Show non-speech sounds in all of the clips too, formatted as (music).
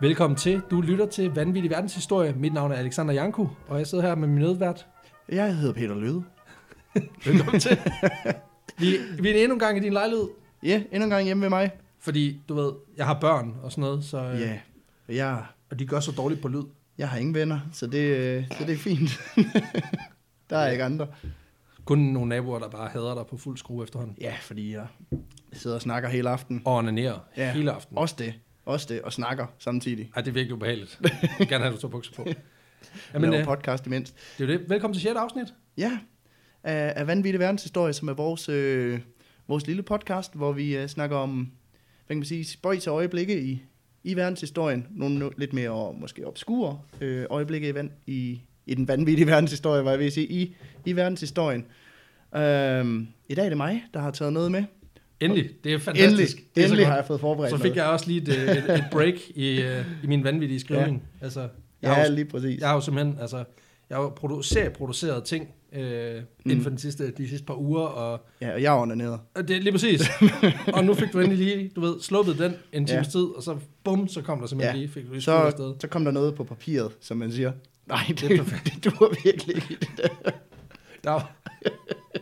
Velkommen til. Du lytter til Vanvittig Verdenshistorie. Mit navn er Alexander Janku, og jeg sidder her med min medvært. Jeg hedder Peter Løde. Velkommen (laughs) til. Vi, vi er endnu en gang i din lejlighed, Ja, endnu en gang hjemme ved mig. fordi du ved, jeg har børn og sådan noget, så, Ja, øh, yeah. jeg, og de gør så dårligt på lyd. jeg har ingen venner, så det, øh, så det er fint. (laughs) der er ikke andre. Kun nogle naboer, der bare hader dig på fuld skrue efterhånden. Ja, fordi jeg sidder og snakker hele aften. Og onanerer Ja. hele aftenen. Også det. Også det, og snakker samtidig. Ej, det er virkelig (laughs) ubehageligt. Jeg vil gerne have, at du tager bukser på. Jeg Jamen, laver øh, podcast imens. det er jo det. Velkommen til 6. afsnit. Ja, af, af Vanvittig Verdenshistorie, som er vores, øh, vores lille podcast, hvor vi øh, snakker om, hvad kan man sige, spøjs og øjeblikke i, i verdenshistorien. Nogle no, lidt mere og måske obskure øh, øjeblikke i, van, i, i den vanvittige verdenshistorie, var jeg ved at sige, i, i verdenshistorien. Øhm, I dag er det mig, der har taget noget med. Endelig. Det er fantastisk. Endelig, det er endelig så har godt. jeg fået forberedt Så fik jeg også lige et, øh, et, et break i, øh, i min vanvittige skrivning. Ja. Altså, jeg, noget. har Ja, jo, lige præcis. jeg har jo simpelthen, altså, jeg har jo produ- serieproduceret ting øh, mm. inden for den sidste, de sidste par uger, og, Ja, og jeg er nede. og det er lige (laughs) præcis. og nu fik du endelig lige, du ved, sluppet den en times Ja. tid, og så bum, så kom der simpelthen Ja. lige, fik du lige skudt afsted. Så, så kom der noget på papiret, som man siger. Nej, det, Det er det, det duer virkelig ikke. Der (laughs) var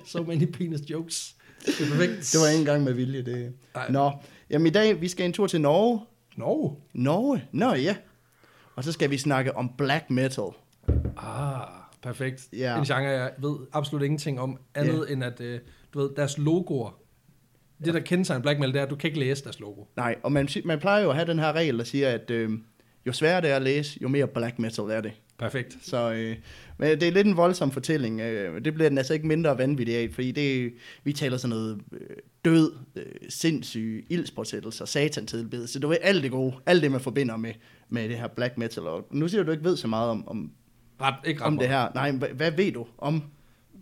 so many penis jokes. Det er perfekt. Det var ikke engang med vilje, det. Ej. Nå, jamen i dag, vi skal en tur til Norge. Norge. Norge? Nå ja. Og så skal vi snakke om black metal. Ah, perfekt. Ja. En genre, jeg ved absolut ingenting om, andet end at, øh, du ved, deres logoer, det der kendetegner black metal, det er, at du kan ikke læse deres logo. Nej, og man, si- man plejer jo at have den her regel, der siger, at øh, jo sværere det er at læse, jo mere black metal er det. Perfekt. Så øh, men det er lidt en voldsom fortælling. Øh, det bliver den altså ikke mindre vanvittig af, fordi det, vi taler sådan noget øh, død, øh, sindssyge, ildspåsættelser, satantidbedelse. Du ved, alt det gode, alt det, man forbinder med, med det her black metal. Og nu siger du, du ikke ved så meget om, om Ret, ikke ret om det meget. her. Nej, men hvad, hvad ved du om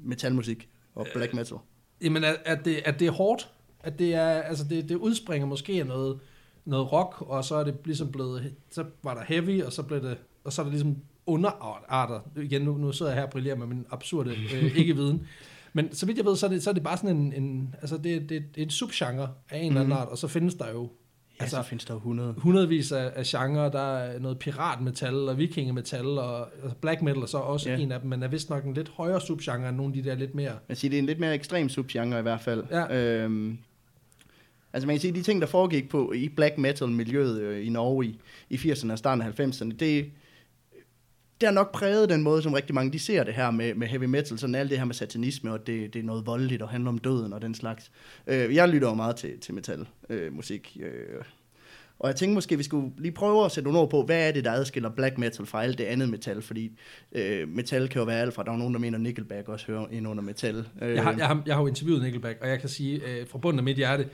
metalmusik og black metal? Jamen, at, at, det, at det er hårdt, at det, er, altså det, det udspringer måske af noget, noget rock, og så er det ligesom blevet, så var der heavy, og så blev det, og så er der ligesom underarter. Igen, nu, nu sidder jeg her og brillerer med min absurde øh, ikke-viden. Men så vidt jeg ved, så er det, så er det bare sådan en, en altså det, det, det er en subgenre af en eller anden art, og så findes der jo altså, findes der 100. hundredvis af, af genrer. Der er noget piratmetal og vikingemetal, og altså black metal er så også Ja. en af dem, men er vist nok en lidt højere subgenre end nogle af de der lidt mere Man siger, det er en lidt mere ekstrem subgenre i hvert fald. Ja. Øhm, altså man kan sige, de ting, der foregik på i black metal-miljøet øh, i Norge i, i 80'erne og starten af 90'erne, det, det har nok præget den måde, som rigtig mange de ser det her med, med heavy metal, sådan alt det her med satanisme, og det, det er noget voldeligt og handler om døden og den slags. Øh, jeg lytter jo meget til, til metal øh, musik, øh, og jeg tænkte måske, vi skulle lige prøve at sætte nogle ord på, hvad er det, der adskiller black metal fra alt det andet metal, fordi øh, metal kan jo være alt fra, der er nogen, der mener Nickelback også hører ind under metal. Øh, Jeg har, jeg, har, jeg har jo interviewet Nickelback, og jeg kan sige øh, fra bunden af mit hjerte,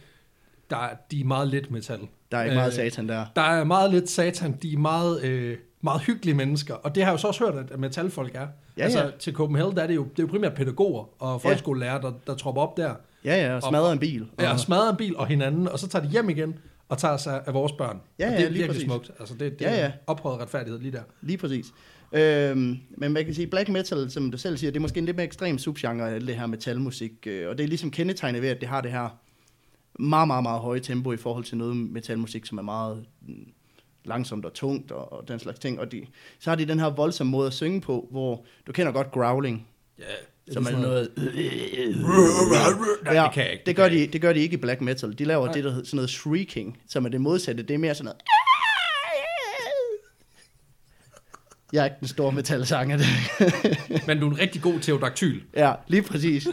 der, er- de er meget lidt metal. Der er ikke meget Øh, satan der. Der er meget lidt satan, de er meget, øh, meget hyggelige mennesker, og det har jeg jo så også hørt, at- at metalfolk er. Ja, altså ja. til Copenhagen, der er det jo, det er jo primært pædagoger og folkeskolelærer, der, der tropper op der, Ja, ja, og smadrer en bil. Og, og smadrer en bil og hinanden, og så tager de hjem igen og tager sig af vores børn. Ja, og ja, det er lige virkelig præcis. smukt. Altså, det, det Ja, er ja. ja. ophøjet retfærdighed lige der. Lige præcis. Øhm, men man kan sige, black metal, som du selv siger, det er måske en lidt mere ekstrem subgenre af alt det her metalmusik, øh, og det er ligesom kendetegnet ved, at det har det her meget, meget, meget høje tempo i forhold til noget metalmusik, som er meget mm, langsomt og tungt og, og den slags ting. Og de, så har de den her voldsomme måde at synge på, hvor du kender godt growling, Ja, som er noget... Nej, det kan jeg ikke. Det kan gør, jeg de, det gør de ikke i black metal. De laver Nej. Nej. det, der hedder sådan noget shrieking, som er det modsatte. Det er mere sådan noget... Jeg er ikke den store metalsanger. (laughs) Det. ikke. Men du er en rigtig god teodaktyl. Ja, lige præcis.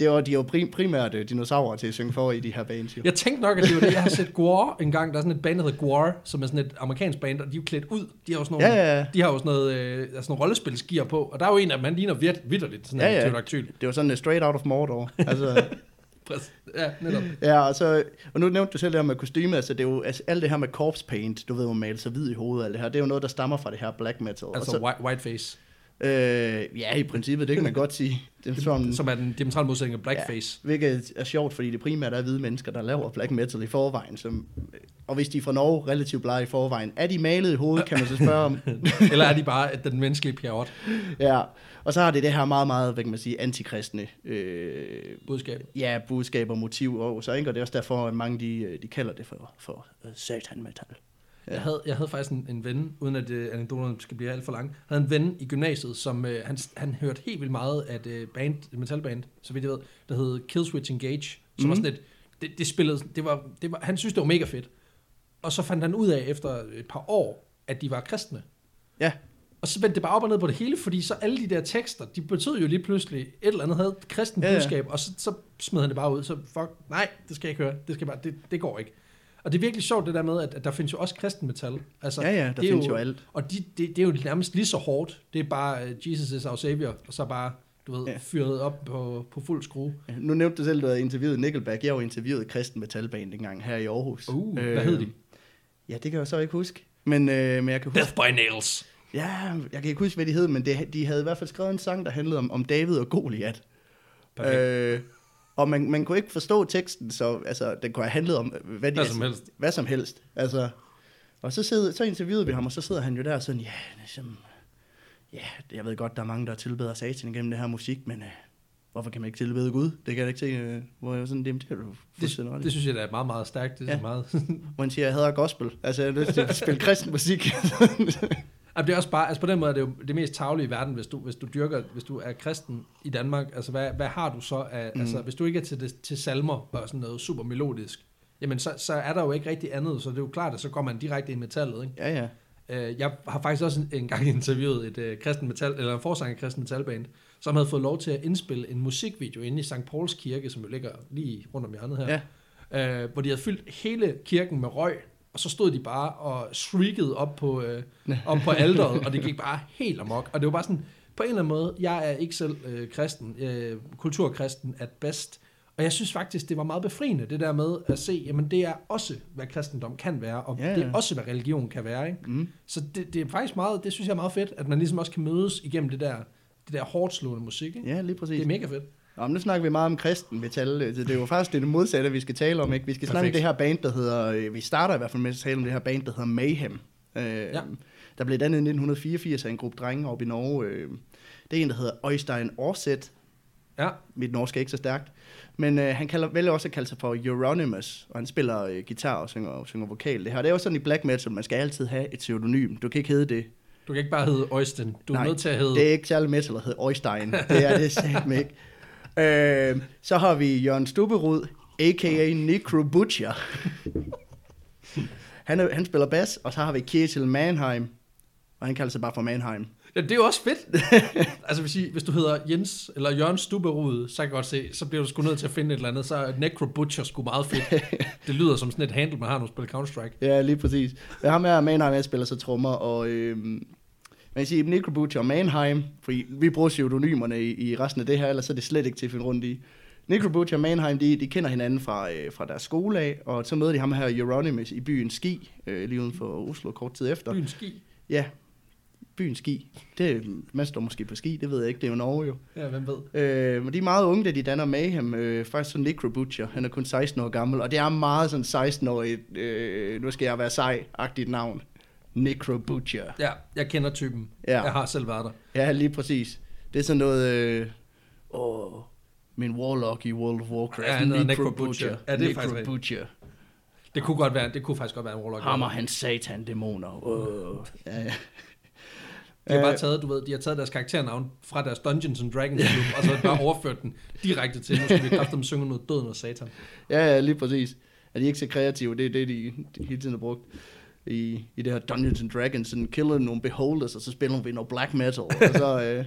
Det var de er jo prim- primært øh, dinosaurer til at synge for i de her bands. Jo. Jeg tænkte nok, at det var det. Jeg har set Guar en gang. Der er sådan et band, der hedder Guar, som er sådan et amerikansk band, og de er jo klædt ud. De har jo sådan, nogle, Ja, ja, ja. De har jo sådan noget, øh, altså sådan nogle rollespilsgear på, og der er jo en af dem, han ligner vidt, vidderligt sådan Ja, ja, en ja. teodaktyl. Det var sådan uh, straight out of Mordor. Altså, Præcis. Ja, netop. ja, og, så, og nu nævnte du selv det her med kostymer. Altså, det er jo, altså, alt det her med corpse paint, du ved, hvor man maler sig hvid i hovedet, og alt det her, det er jo noget, der stammer fra det her black metal. Og Altså så, white, whiteface, øh, ja, i princippet, det kan man godt sige. Det er sådan, som er den diametrale modsætning af blackface. Ja, hvilket er sjovt, fordi det primært er hvide mennesker, der laver black metal i forvejen. Som, og hvis de er fra Norge relativt blege i forvejen, er de malet i hovedet, kan man så spørge om. Eller er de bare den menneskelige pjerrot ja. Og så har det det her meget, meget, hvad kan man sige, antikristne øh, budskab? ja, budskab og motiv. Og så ikke? Og det er også derfor, at mange de, øh, de kalder det for, for øh, satan metal. Ja. Jeg, havde, jeg havde faktisk en, en ven, uden at øh, anekdoterne skal blive alt for lang, havde en ven i gymnasiet, som øh, han, han hørte helt vildt meget af et øh, band, et metalband, så vidt jeg ved, der hed Killswitch Engage, som mm. var sådan et, det, det spillede, det var, det var, han synes det var mega fedt. Og så fandt han ud af efter et par år, at de var kristne. Ja, Og så vendte det bare op og ned på det hele, fordi så alle de der tekster, de betød jo lige pludselig, et eller andet havde et kristent Ja, ja, ja. ja. budskab, og så, så smed han det bare ud, så fuck, nej, det skal jeg ikke høre, det, skal jeg bare, det, det går ikke. Og det er virkelig sjovt det der med, at, at der findes jo også kristen metal. Altså, ja, ja der det er findes jo, jo alt. Og de, det, det er jo nærmest lige så hårdt. Det er bare øh, Jesus is our savior, og så bare, du ved, Ja. ja. fyret op på, på fuld skrue. Nu nævnte du selv, du havde interviewet Nickelback. Jeg har jo interviewet Kristen Metalband dengang her i Aarhus. Øh, Uh, hvad hed de? Ja, det kan jeg jo så ikke huske. Men, øh, men jeg kan huske, Death by nails. ja, jeg kan ikke huske, hvad de hed, men det, de havde i hvert fald skrevet en sang, der handlede om, om David og Goliath. Perfekt. Øh, og man, man kunne ikke forstå teksten, så altså, den kunne have handlet om øh, hvad, de, Hvad som helst. Hvad som helst. Altså, og så, sidder, så interviewede vi ham, og så sidder han jo der og sådan, ja, ligesom, ja, jeg ved godt, der er mange, der tilbeder satan igennem det her musik, men øh, hvorfor kan man ikke tilbede Gud? Det kan jeg da ikke se, øh, hvor jeg var sådan, "Jamen, det kan du fuldstændig Det, ret i." det synes jeg, der er meget, meget stærkt. Det er, Ja. ja. meget. Hvor han siger, jeg hader gospel. Altså, jeg har lyst til at spille kristen (laughs) musik. Jamen, det er også bare, altså på den måde er det jo det mest tavlige i verden, hvis du, hvis du dyrker, hvis du er kristen i Danmark. Altså, hvad, hvad har du så af, mm. altså, hvis du ikke er til, det, til salmer og sådan noget super melodisk, jamen, så, så er der jo ikke rigtig andet, så det er jo klart, at så går man direkte ind i metallet, ikke? ja, ja. Øh, jeg har faktisk også en- engang (laughs) interviewet et øh, kristen metal, eller en forsanger i kristen metalband, som havde fået lov til at indspille en musikvideo inde i St. Pauls Kirke, som jo ligger lige rundt om hjørnet her, ja. øh, hvor de havde fyldt hele kirken med røg, og så stod de bare og shriekede op på, øh, op (laughs) på alderet, og det gik bare helt amok. Og det var bare sådan, på en eller anden måde, jeg er ikke selv øh, kristen, øh, kulturkristen at bedst, og jeg synes faktisk, det var meget befriende, det der med at se, jamen det er også, hvad kristendom kan være, og Ja, ja, det ja. er også, hvad religion kan være. Ikke? Mm. Så det, det er faktisk meget, det synes jeg er meget fedt, at man ligesom også kan mødes igennem det der, det der hårdt slående musik. Ikke? Ja, lige præcis. det er mega fedt. Nå, men nu snakker vi meget om kristen metal. øh, Det det er jo faktisk det, er det modsatte, vi skal tale om. Ikke? Vi skal Perfekt. snakke om Perfekt. det her band, der hedder... øh, Vi starter i hvert fald med at tale om det her band, der hedder Mayhem. Øh, ja. Der blev dannet i 1984 af en gruppe drenge oppe i Norge. Øh, det er en, der hedder Øystein Aarseth. Ja, Mit norsk er ikke så stærkt. Men øh, han kalder, vælger også at kalde sig for Euronymous, og han spiller øh, guitar og synger, og synger vokal. Det her det er jo sådan i black metal, man skal altid have et pseudonym. Du kan ikke hedde det. du kan ikke bare hedde Øjsten. Du er Nej, nødt til at hedde... Det er ikke særlig metal at hedde Øjstein. Det er det satme (laughs) ikke. Øh, så har vi Jørgen Stubberud, a.k.a. Necro Butcher. han, er, han spiller bas, og så har vi Kjetil Mannheim, og han kalder sig bare for Mannheim. Ja, det er jo også (laughs) fedt. altså hvis, I, hvis du hedder Jens eller Jørgen Stubberude, så kan jeg godt se, så bliver du sgu nødt til at finde et eller andet. Så er Necro Butcher sgu meget fedt. (laughs) det lyder som sådan et handle, man har, når man spiller Counter-Strike. Ja, lige præcis. Men ham her, Mannheim, han spiller så trommer, og øh, man kan sige, Necro Butcher og Mannheim, fordi vi bruger pseudonymerne i, i resten af det her, ellers så er det slet ikke til at finde rundt i. Necro Butcher og Mannheim, de, de kender hinanden fra, øh, fra deres skole af, og så møder de ham her, Euronymous, i byen Ski, øh, lige uden for Oslo kort tid efter. Byen ski. Ja, byen Ski. Det, man står måske på ski, det ved jeg ikke, det er jo Norge jo. Ja, hvem ved. Øh, men de er meget unge, da de danner Mayhem. Øh, faktisk så Necro Butcher, han er kun 16 år gammel, og det er meget sådan 16-årigt, øh, nu skal jeg være sej-agtigt navn. Necro Butcher. Ja, jeg kender typen. Ja. Jeg har selv været der. Ja, lige præcis. Det er sådan noget, øh, åh, min warlock i World of Warcraft. Ja, han hedder Necro Butcher. Ja, det er Necro faktisk rigtigt. Butcher. Det kunne, godt være, det kunne faktisk godt være en warlock. Hammer han satan dæmoner. Åh. Ja, ja. De har bare Øh. taget, du ved, de har taget deres karakternavn fra deres Dungeons and Dragons klub, og så har de bare overført den direkte til, nu skal vi kræfte dem synge noget døden og satan. Ja, ja, lige præcis. Er de ikke så kreative? Det er det, de, de hele tiden har brugt i, i det her Dungeons and Dragons. Sådan killer nogle beholders, og så spiller vi noget black metal. Og så, øh,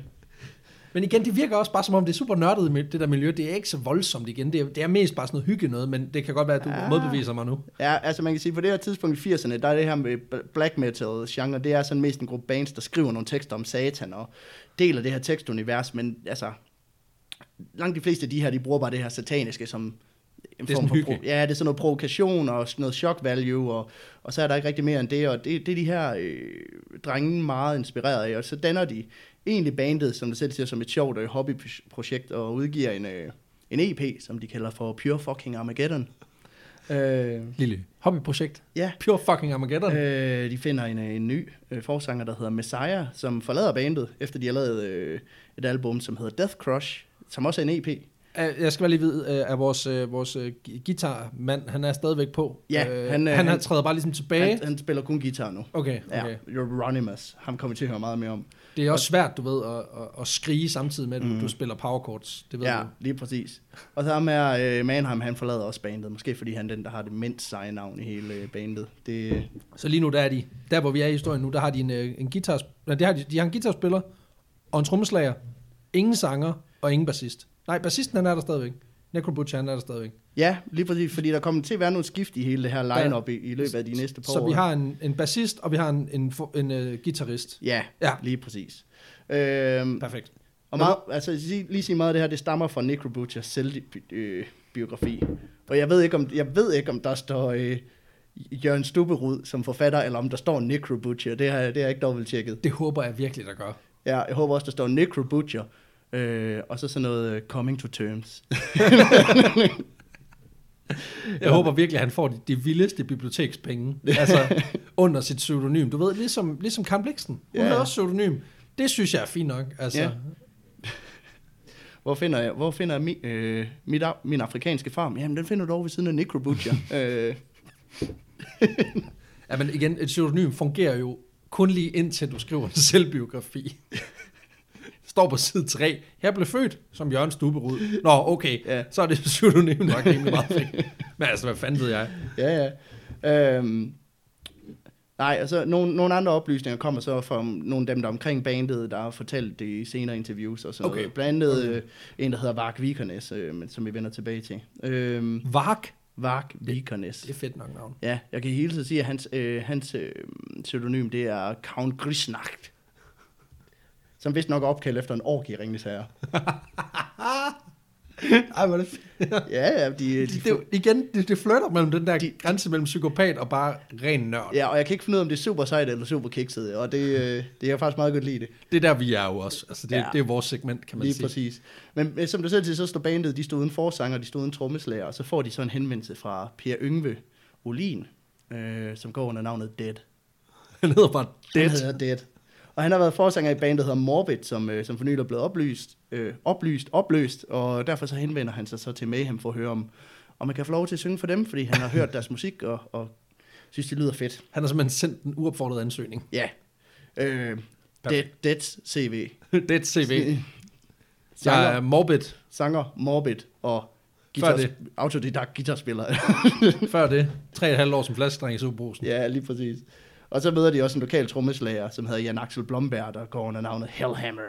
Men igen, det virker også bare som om, det er super nørdet, med det der miljø. Det er ikke så voldsomt igen. Det er, det er mest bare sådan noget hygge noget, men det kan godt være, at du Ah. ah. modbeviser mig nu. ja, altså man kan sige, på det her tidspunkt i 80'erne, der er det her med bl- black metal genre, det er sådan mest en gruppe bands, der skriver nogle tekster om satan og deler det her tekstunivers, men altså, langt de fleste af de her, de bruger bare det her sataniske som en Det er sådan hygge. pro- Ja, det er sådan noget provokation og sådan noget shock value, og, og så er der ikke rigtig mere end det, og det, det er de her øh, drenge meget inspireret af, og så danner de egentlig bandet, som du selv siger, som et sjovt øh, hobbyprojekt, og udgiver en, øh, en EP, som de kalder for Pure Fucking Armageddon. Øh, Lille hobbyprojekt. ja, Pure fucking Armageddon. Øh. Øh, de finder en, øh, en ny øh, forsanger, der hedder Messiah, som forlader bandet, efter de har lavet øh, et album, som hedder Death Crush, som også er en EP. Øh, Jeg skal bare lige vide, øh, at vores, øh, vores øh, gu- guitarmand, han er stadigvæk på. Ja, Øh, han, øh, han, han han- træder bare ligesom tilbage. Han, han spiller kun guitar nu. Okay, Ja, okay. Euronymous. Ham kommer vi til at høre meget mere om. Det er også svært, du ved, at, at, at skrige samtidig med, at mm. du spiller powerchords. Det ved Ja, du. lige præcis. Og så ham er øh, Manheim, han forlader også bandet. Måske fordi han er den, der har det mindst seje navn i hele øh, bandet. Det, Så lige nu, der er de, der hvor vi er i historien nu, der har de en, øh, en guitar, nej, det har de, de har en guitarspiller og en trommeslager, ingen sanger og ingen bassist. Nej, bassisten han er der stadigvæk. Necrobutcher han er der stadigvæk. ja, lige præcis, fordi der kommer til at være nogle skift i hele det her lineup i, i løbet af de næste par Så år. vi har en, en bassist, og vi har en, en, for- en uh, guitarist. Ja, Ja. ja. lige præcis. Øhm, Perfekt. og meget, altså, lige, lige sige meget af det her, det stammer fra Necro Butchers selvbiografi. øh, Og jeg ved ikke, om, jeg ved ikke, om der står øh, Jørgen Stubberud som forfatter, eller om der står Necro Butcher. Det har, jeg- det har jeg ikke dobbelt tjekket. Det håber jeg virkelig, der gør. Ja, jeg håber også, der står Necro Butcher. Øh, og så sådan noget øh, Coming to Terms. Jeg håber virkelig, at han får de, de vildeste bibliotekspenge. (laughs) altså, under sit pseudonym. Du ved, ligesom, ligesom Karen Blixen. Hun Ja. yeah. også pseudonym. Det synes jeg er fint nok. Altså, Ja. Hvor finder jeg, hvor finder jeg mi, øh, mit, af- min afrikanske farm? Jamen, den finder du over ved siden af Necro Butcher. øh, ja, men igen, et pseudonym fungerer jo kun lige indtil du skriver en selvbiografi. (laughs) Står på side 3. Jeg blev født som Jørgen Stuberud. Nå, okay. Ja. Så er det pseudonym nok rimelig meget fint. Men altså, hvad fanden ved jeg? ja, ja. Øhm, nej, altså nogle, nogle andre oplysninger kommer så fra nogle af dem, der er omkring bandet, der har fortalt det i senere interviews og sådan Okay. noget. Blandt andet øh, en, der hedder Vark Vikernes, øh, men som vi vender tilbage til. Øhm, Vark. Vark Vikernes. Det er fedt nok navn. Ja, jeg kan hele tiden sige, at hans, øh, hans øh, pseudonym, det er Count Grisnacht. Som vist nok er opkaldt efter en ork i (laughs) Ringnes Herre. Ej, hvor er det fedt. Ja, ja, de, de, Det, det, igen, det, det flytter mellem den der De- grænse mellem psykopat og bare ren nørd. ja, og jeg kan ikke finde ud af, om det er super sejt eller super kikset, og det, øh, det jeg faktisk meget godt lide det. Det er der, vi er jo også. Altså, det, ja. Ja. det er vores segment, kan man Lige sige. præcis. Men øh, som du selv siger, så står bandet, de stod uden forsanger, de stod uden trommeslager, og så får de så en henvendelse fra Per Yngve Olin, øh, som går under navnet Dead. Han hedder bare Dead. Dead. Han hedder Dead. Og han har været forsanger i bandet, der hedder Morbid, som, øh, som for nylig er blevet oplyst, øh, oplyst, opløst, og derfor så henvender han sig så til Mayhem for at høre om, om man kan få lov til at synge for dem, fordi han har hørt deres musik og, og synes, det lyder fedt. Han har simpelthen sendt en uopfordret ansøgning. Ja. Øh, Dead, Perfekt. Deads CV. Dead CV. Sanger, Jeg er morbid sanger, Morbid og Før guitars, det. autodidakt guitarspiller. (laughs) før det. Tre og et halvt år som flaskedreng i Superbrugsen. ja, lige præcis. Og så møder de også en lokal trommeslager, som hedder Jan Axel Blomberg, der går under navnet Hellhammer.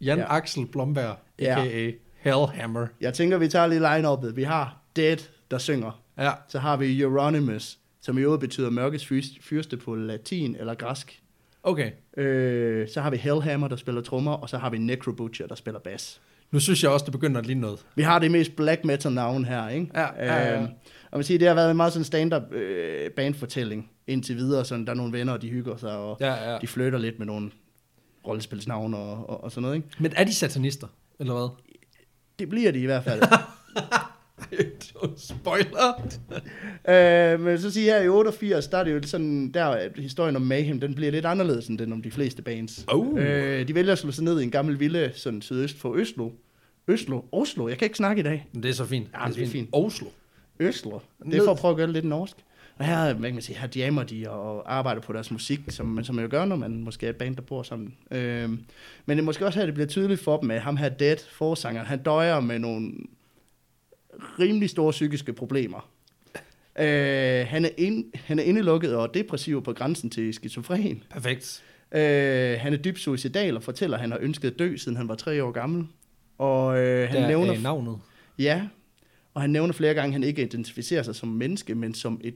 Jan Ja. Axel Blomberg, Ja. a.k.a. Hellhammer. Jeg tænker, vi tager lige line-uppet. Vi har Dead, der synger. Ja. Så har vi Euronymous, som i øvrigt betyder mørkets fyrst- fyrste på latin eller græsk. Okay. Øh, så har vi Hellhammer, der spiller trommer, og så har vi Necro Butcher, der spiller bass. Nu synes jeg også, det begynder at ligne noget. Vi har det mest black metal navn her, ikke? Ja, ja, ja. Øhm, og man siger, det har været en meget sådan stand-up øh, bandfortælling indtil videre. Sådan, der er nogle venner, og de hygger sig, og Ja, ja. de flytter lidt med nogle rollespilsnavne og, og, og sådan noget, ikke? Men er de satanister, eller (laughs) hvad? Det bliver de i hvert (laughs) fald. Spoiler! Øh, men så siger jeg, i 88, der er det jo sådan, der at historien om Mayhem, den bliver lidt anderledes end den om de fleste bands. Oh. Øh, de vælger at slå sig ned i en gammel villa, sådan sydøst for Øslo. Øslo? Oslo? Jeg kan ikke snakke i dag. Men det er så fint. Ja, det er fint. Oslo. Øslo. Det Ned. er for at prøve at gøre det lidt norsk. Og her, hvad kan man sige, her jammer de og arbejder på deres musik, som, som man jo gør, når man måske er et band, der bor sammen. Øhm, men det er måske også her, det bliver tydeligt for dem, at ham her Dead, forsanger, han døjer med nogle rimelig store psykiske problemer. Øh, han, er ind, han er indelukket og depressiv på grænsen til skizofren. Perfekt. Øh, han er dybt suicidal og fortæller, at han har ønsket at dø, siden han var tre år gammel. Og øh, han Der nævner... er navnet. Ja, og han nævner flere gange, at han ikke identificerer sig som menneske, men som et,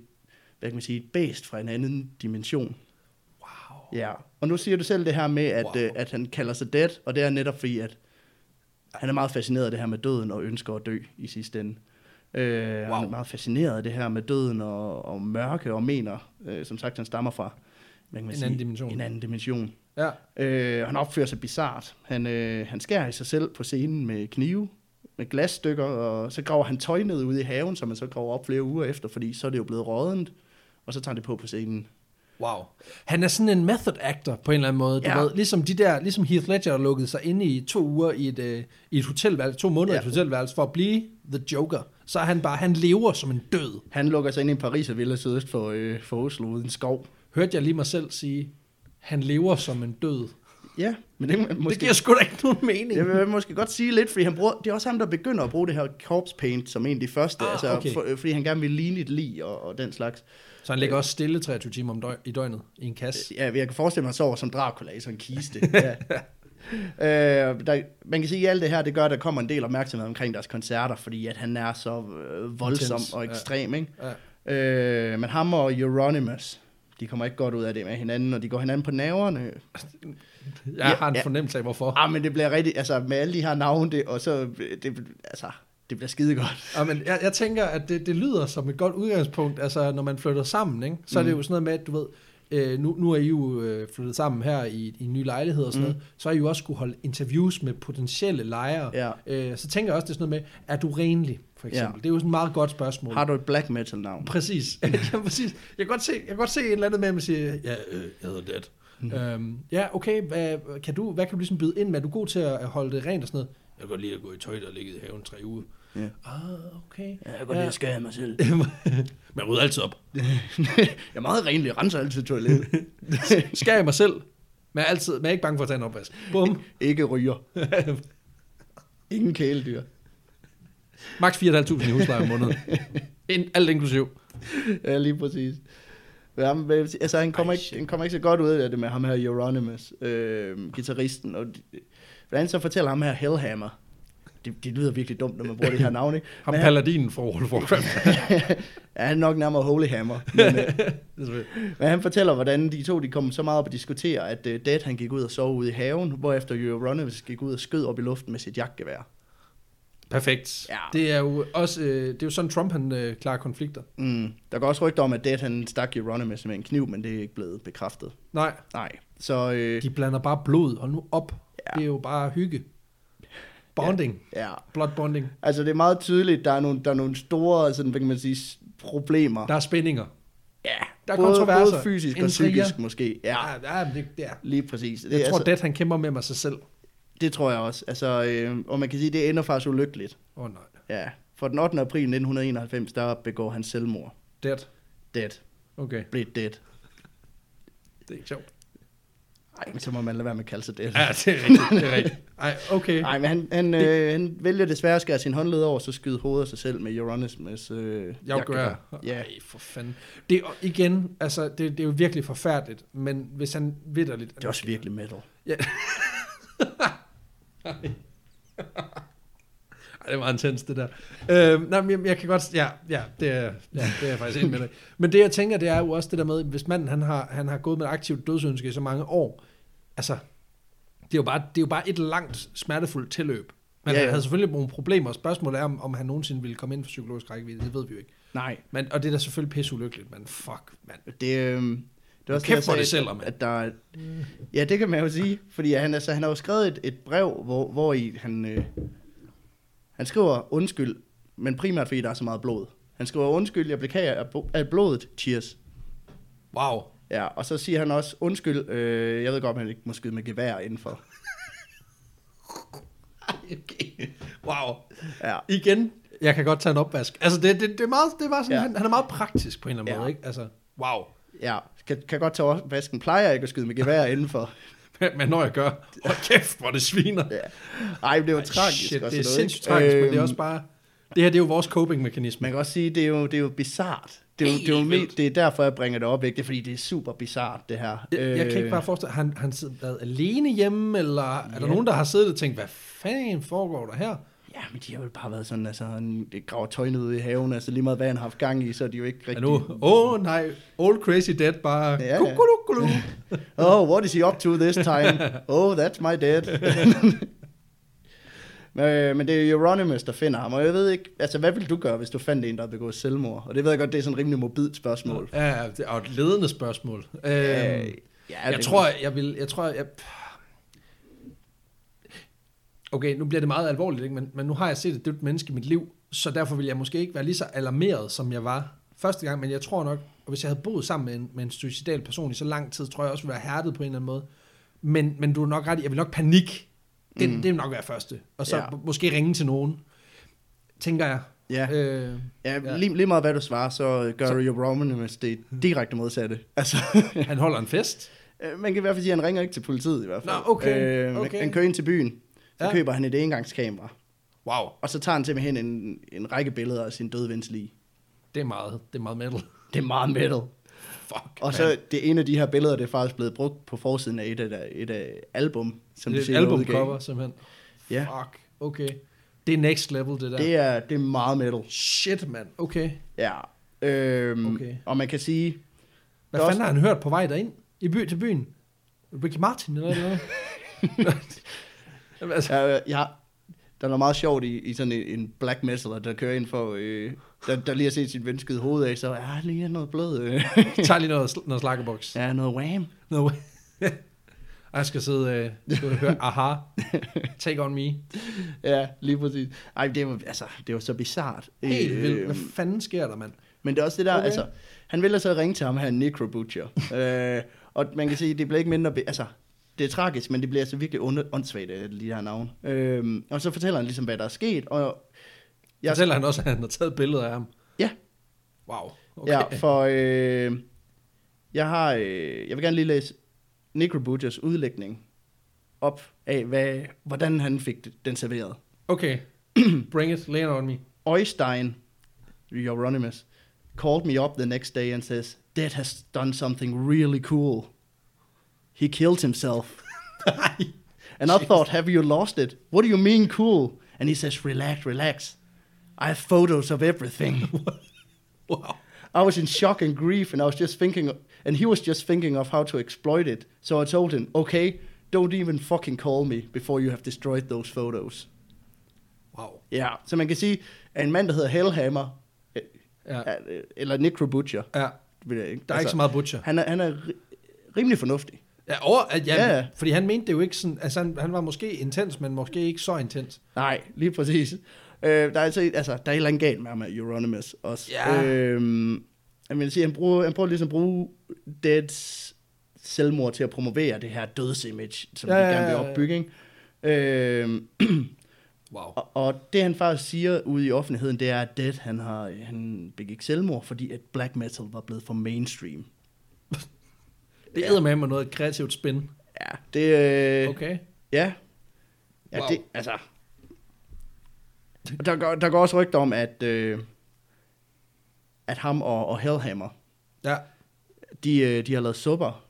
hvad kan man sige, et bæst fra en anden dimension. Wow. Ja, og nu siger du selv det her med, at, Wow. wow. øh, at han kalder sig dead, og det er netop fordi, at han er meget fascineret af det her med døden og ønsker at dø i sidste ende. Øh, wow. Han Wow. er meget fascineret af det her med døden og, og mørke og mener, øh, som sagt, han stammer fra hvad kan man En anden dimension. En anden dimension. Ja. Øh, han opfører sig bizart. Han, øh, han skærer i sig selv på scenen med knive, med glasstykker, og så graver han tøj ned ude i haven, som man så graver op flere uger efter, fordi så er det jo blevet rådent, og så tager han det på på scenen. Wow. Han er sådan en method actor på en eller anden måde. Ja. Ja. Du ved, ligesom, de der, ligesom Heath Ledger lukkede sig inde i to uger i et, øh, i et hotelværelse, to måneder ja. i Ja. et hotelværelse for at blive The Joker. Så er han bare, han lever som en død. Han lukker sig ind i en Paris og vil sidde for, øh, for Oslo uden skov. Hørte jeg lige mig selv sige, han lever som en død. Ja, men det, må- Måske. Det måske, giver sgu da ikke nogen mening. jeg vil måske godt sige lidt, fordi han bruger, det er også ham, der begynder at bruge det her corpse paint som en af de første, Ah, altså, okay. for, øh, fordi han gerne vil ligne et lig og, og den slags. Så han ligger også stille 23 timer om døg, i døgnet i en kasse. Altså, Ja, jeg kan forestille mig, at han sover som Dracula i sådan en (laughs) kiste. ja. øh, der, man kan sige, at alt det her, det gør, at der kommer en del opmærksomhed omkring deres koncerter, fordi at han er så øh, voldsom Intens, og ja. ekstrem. Ikke? Ja. Øh, men ham og Euronymous, de kommer ikke godt ud af det med hinanden, og de går hinanden på naverne. Jeg Ja, har en ja. fornemmelse af, hvorfor. Ah, men det bliver rigtig, altså med alle de her navne, det, og så, det, altså, det bliver skide godt. Ja, men jeg, jeg tænker, at det, det lyder som et godt udgangspunkt, altså når man flytter sammen, ikke? så mm. er det jo sådan noget med, at du ved, øh, nu, nu er I jo øh, flyttet sammen her i, i en ny lejlighed og sådan mm. noget, så har I jo også skulle holde interviews med potentielle lejere. Ja. Øh, så tænker jeg også, det er sådan noget med, er du renlig, for Ja. eksempel? Ja. Det er jo sådan et meget godt spørgsmål. Har du et black metal navn? Præcis. (laughs) ja, præcis. Jeg kan godt se, jeg kan godt se et eller andet med, at man siger, ja, øh, jeg hedder det. Mm. Øhm, ja, okay, hvad kan, du, hvad kan du ligesom byde ind med? Er du god til at holde det rent og sådan noget? Jeg kan godt lide at gå i tøj, der ligger i haven tre uger. Ja. Ah, okay. Ja, jeg kan godt lide at skade mig selv. (laughs) Man rydder altid op. (laughs) jeg er meget renlig, jeg renser altid (laughs) toilettet. (laughs) Skærer jeg mig selv. Man er, altid, man er ikke bange for at tage en opvask. Bum. ikke ryger. Ingen kæledyr. (laughs) Max 4.500 i husleje om (laughs) måneden. In, alt inklusiv. (laughs) Ja, lige præcis. Men ham, altså, han kommer, ikke, han kommer ikke så godt ud af det med ham her, Euronymous, øh, guitaristen. Og de- hvordan så fortæller ham her, Hellhammer. Det, det lyder virkelig dumt, når man bruger det her (laughs) navn, ikke? Ham Men han, paladinen fra World of Warcraft. (laughs) ja, han er nok nærmere Holy Hammer. Men, (laughs) øh, Det er selvfølgelig- Men han fortæller, hvordan de to de kom så meget op og diskutere, at uh, Dad han gik ud og sov ude i haven, hvorefter Euronymous gik ud og skød op i luften med sit jagtgevær. Perfekt. Ja. Det er jo også øh, det er jo sådan, Trump han øh, klarer konflikter. Mm. Der går også rygter om, at Dad han stak Euronymous med en kniv, men det er ikke blevet bekræftet. Nej, Nej. Så øh, de blander bare blod, og nu op. Ja. Ja. Det er jo bare hygge. Bonding. Ja. ja, Blood bonding. altså det er meget tydeligt, der er nogle, der er nogle store, sådan, hvad kan man sige, s- problemer. Der er spændinger. ja, der er både, kontroverser, Både fysisk og intriger. psykisk måske. Ja, ja, ja men det, det er. lige præcis. Det, Jeg er tror, altså, det han kæmper med mig sig selv. det tror jeg også. Altså, øh, og man kan sige, det ender faktisk ulykkeligt. Åh oh, nej. Ja, for den 8. april 1991, der begår han selvmord. Dead. Dead. Okay, Blev dead. det er ikke sjovt. Ej, men så må man lade være med at kalde sig det. Ja, det er rigtigt. Det (laughs) er rigtigt. Ej, okay. Nej, men han, han, øh, han vælger desværre at skære sin håndled over, så skyde hovedet af sig selv med Euronymous øh, Jeg gør. Ja, Ja. Ej, for fanden. Det er igen, altså, det, det er jo virkelig forfærdeligt, men hvis han vidderligt... det er også virkelig metal. Ej, det var intens, det der. Øh, nej, men jeg, jeg kan godt... Ja, ja, det er, ja, det er jeg faktisk enig med dig. i. Men det, jeg tænker, det er jo også det der med, hvis manden, han har, han har gået med et aktivt dødsønske i så mange år, altså, det er jo bare, det er jo bare et langt, smertefuldt tilløb. Men ja, Ja, ja. han havde selvfølgelig nogle problemer, og spørgsmålet er, om, om han nogensinde ville komme ind for psykologisk rækkevidde, det ved vi jo ikke. Nej, Men, og det er da selvfølgelig pisseullykkeligt, men fuck, mand. det, øh, det er også Kæft, hvor jeg det sagde, sælger, mand. at der, er- Ja, det kan man jo sige, fordi han, altså, han har jo skrevet et, et brev, hvor, hvor i han, øh, han skriver undskyld, men primært fordi der er så meget blod. Han skriver undskyld, jeg beklager af bo- af blodet, cheers. Wow. Ja, og så siger han også, undskyld, øh, jeg ved godt, man ikke må skyde med gevær indenfor. Okay. Wow. Ja. Igen, jeg kan godt tage en opvask. Altså, det, det, det, er, meget, det er bare sådan, Ja. ja. han, han er meget praktisk på en eller anden Ja. ja. måde, ikke? Altså, wow. Ja, kan, kan godt tage over vasken. Plejer ikke at skyde med gevær indenfor. (laughs) Men når jeg gør, hold kæft, hvor det sviner. Ja. Ej, men det er jo Ej, tragisk. Shit, og det er sådan noget, sindssygt ikke? tragisk, men det er Øhm, også bare... Det her, det er jo vores coping-mekanisme. Man kan også sige, det er jo, det er jo bizart. Det er, jo, det, er jo, Helt me- vildt. det er derfor, jeg bringer det op, ikke? Det er fordi, det er super bizart, det her. Øh, Jeg, jeg kan ikke bare forestille han, han sidder været alene hjemme, eller er der nogen, der har siddet og tænkt, hvad fanden foregår der her? Ja, men de har jo bare været sådan, altså, han det graver tøjnet ud i haven, altså lige meget, hvad han har haft gang i, så er de jo ikke Er rigtig... nu, åh oh, nej, old crazy dad bare... Ja, Ja, ja. ja. Kukulu, kulu. Oh, what is he up to this time? Oh, that's my dad. (laughs) men, øh, men det er Euronymous, der finder ham, og jeg ved ikke, altså, hvad ville du gøre, hvis du fandt en, der havde begået selvmord? Og det ved jeg godt, det er sådan et rimelig mobilt spørgsmål. Ja, det er jo et ledende spørgsmål. Øhm, ja, jeg det- tror, jeg vil... Jeg tror, jeg... Okay, nu bliver det meget alvorligt, ikke? Men, men nu har jeg set et dødt menneske i mit liv, så derfor vil jeg måske ikke være lige så alarmeret, som jeg var første gang, men jeg tror nok, Og hvis jeg havde boet sammen med en, med en suicidal person i så lang tid, tror jeg også, ville være hærdet på en eller anden måde. Men, men du er nok ret i, jeg vil nok panik. Det, mm. det vil nok være første. Og så Ja. ja. måske ringe til nogen, tænker jeg. Ja, Øh, ja, ja. Lige, lige meget hvad du svarer, så gør Så- Mm. Rio Roman, hvis det er direkte modsatte. (laughs) Altså, han holder en fest. øh, man kan i hvert fald sige, at han ringer ikke til politiet i hvert fald. Nå, okay, Øh, okay. Han kører ind til byen, så Ja. køber han et engangskamera, Wow, og så tager han simpelthen en, en række billeder af sin døde vens lige. det er meget, det er meget metal. Det er meget metal. (laughs) Fuck, Og mand. så det ene af de her billeder, det er faktisk blevet brugt på forsiden af et af, et af album, som det de er et senere udgav. albumcover, simpelthen. Ja, Fuck, okay. Det er next level, det der. det er, det er meget metal. Shit, mand. Okay. Ja. Øhm, Okay. Og man kan sige, Hvad Der er fanden har han hørt på vej derind? I by til byen? Ricky Martin eller noget? (laughs) Jamen, altså, Ja, øh, ja. Der er noget meget sjovt i, i sådan en, en black metaler, der kører ind for, øh, der, der lige har set sit venskede hoved af, så ja, lige noget blød. Øh. (laughs) tag lige noget, sl- noget slakkeboks. Ja. ja, noget wham. No. Og (laughs) jeg skal sidde øh, og høre, aha, take on me. Ja, lige præcis. Ej, det var, altså, det var så bizart. Øh, Helt vildt. Hvad fanden sker der, mand? men det er også det der, okay. Okay. altså, han vælger så at ringe til ham her, Necro (laughs) Butcher. øh, og man kan sige, det bliver ikke mindre, be- altså, det er tragisk, men det bliver altså virkelig under, åndssvagt, øh, lige det her navn. Øh, og så fortæller han ligesom, hvad der er sket, og Jeg... jeg, Fortæller han også, at han har taget billeder af ham? Ja. Wow. Okay. Okay. Ja, for øh, jeg har, øh, jeg vil gerne lige læse Necro Butchers udlægning op af, hvad, hvordan han fik det- den serveret. Okay. (clears throat) Bring it, lay it (laughs) on me. Oystein, Euronymous, called me up the next day and says, Dad has done something really cool. He killed himself. and I thought, have you lost it? What do you mean cool? And he says, relax, relax. I have photos of everything. Wow. I was in shock and grief, and I was just thinking, and he was just thinking of how to exploit it. So I told him, okay, don't even fucking call me before you have destroyed those photos. Wow. Ja, så man kan sige, at en mand, der hedder Hellhammer, øh, Ja. er- øh, eller Necro Butcher, Ja, ved jeg ikke. der er altså, ikke så meget butcher. Han er, han er ri- rimelig fornuftig. Ja, over, at, ja, Ja, ja. ja, fordi han mente det jo ikke sådan, altså han, han var måske intens, men måske ikke så intens. Nej, lige præcis. Øh, der er altså, altså, der er et eller andet galt med ham med Euronymous også. Ja. Øhm, jeg vil sige, han, bruger, han prøver ligesom at bruge Deads selvmord til at promovere det her dødsimage, som ja, Ja, de ja, gerne vil ja, ja. opbygge. Ikke? Øhm, (clears throat) Wow. og, og det han faktisk siger ude i offentligheden, det er, at Dead han, har, han begik selvmord, fordi at black metal var blevet for mainstream. Det Ja. æder med mig noget kreativt spin. Ja, det... Øh, Okay. Ja. Ja, wow. Wow. det, altså... Og Der går, der går også rygter om, at, øh, at ham og, og Hellhammer, Ja. de, øh, de har lavet supper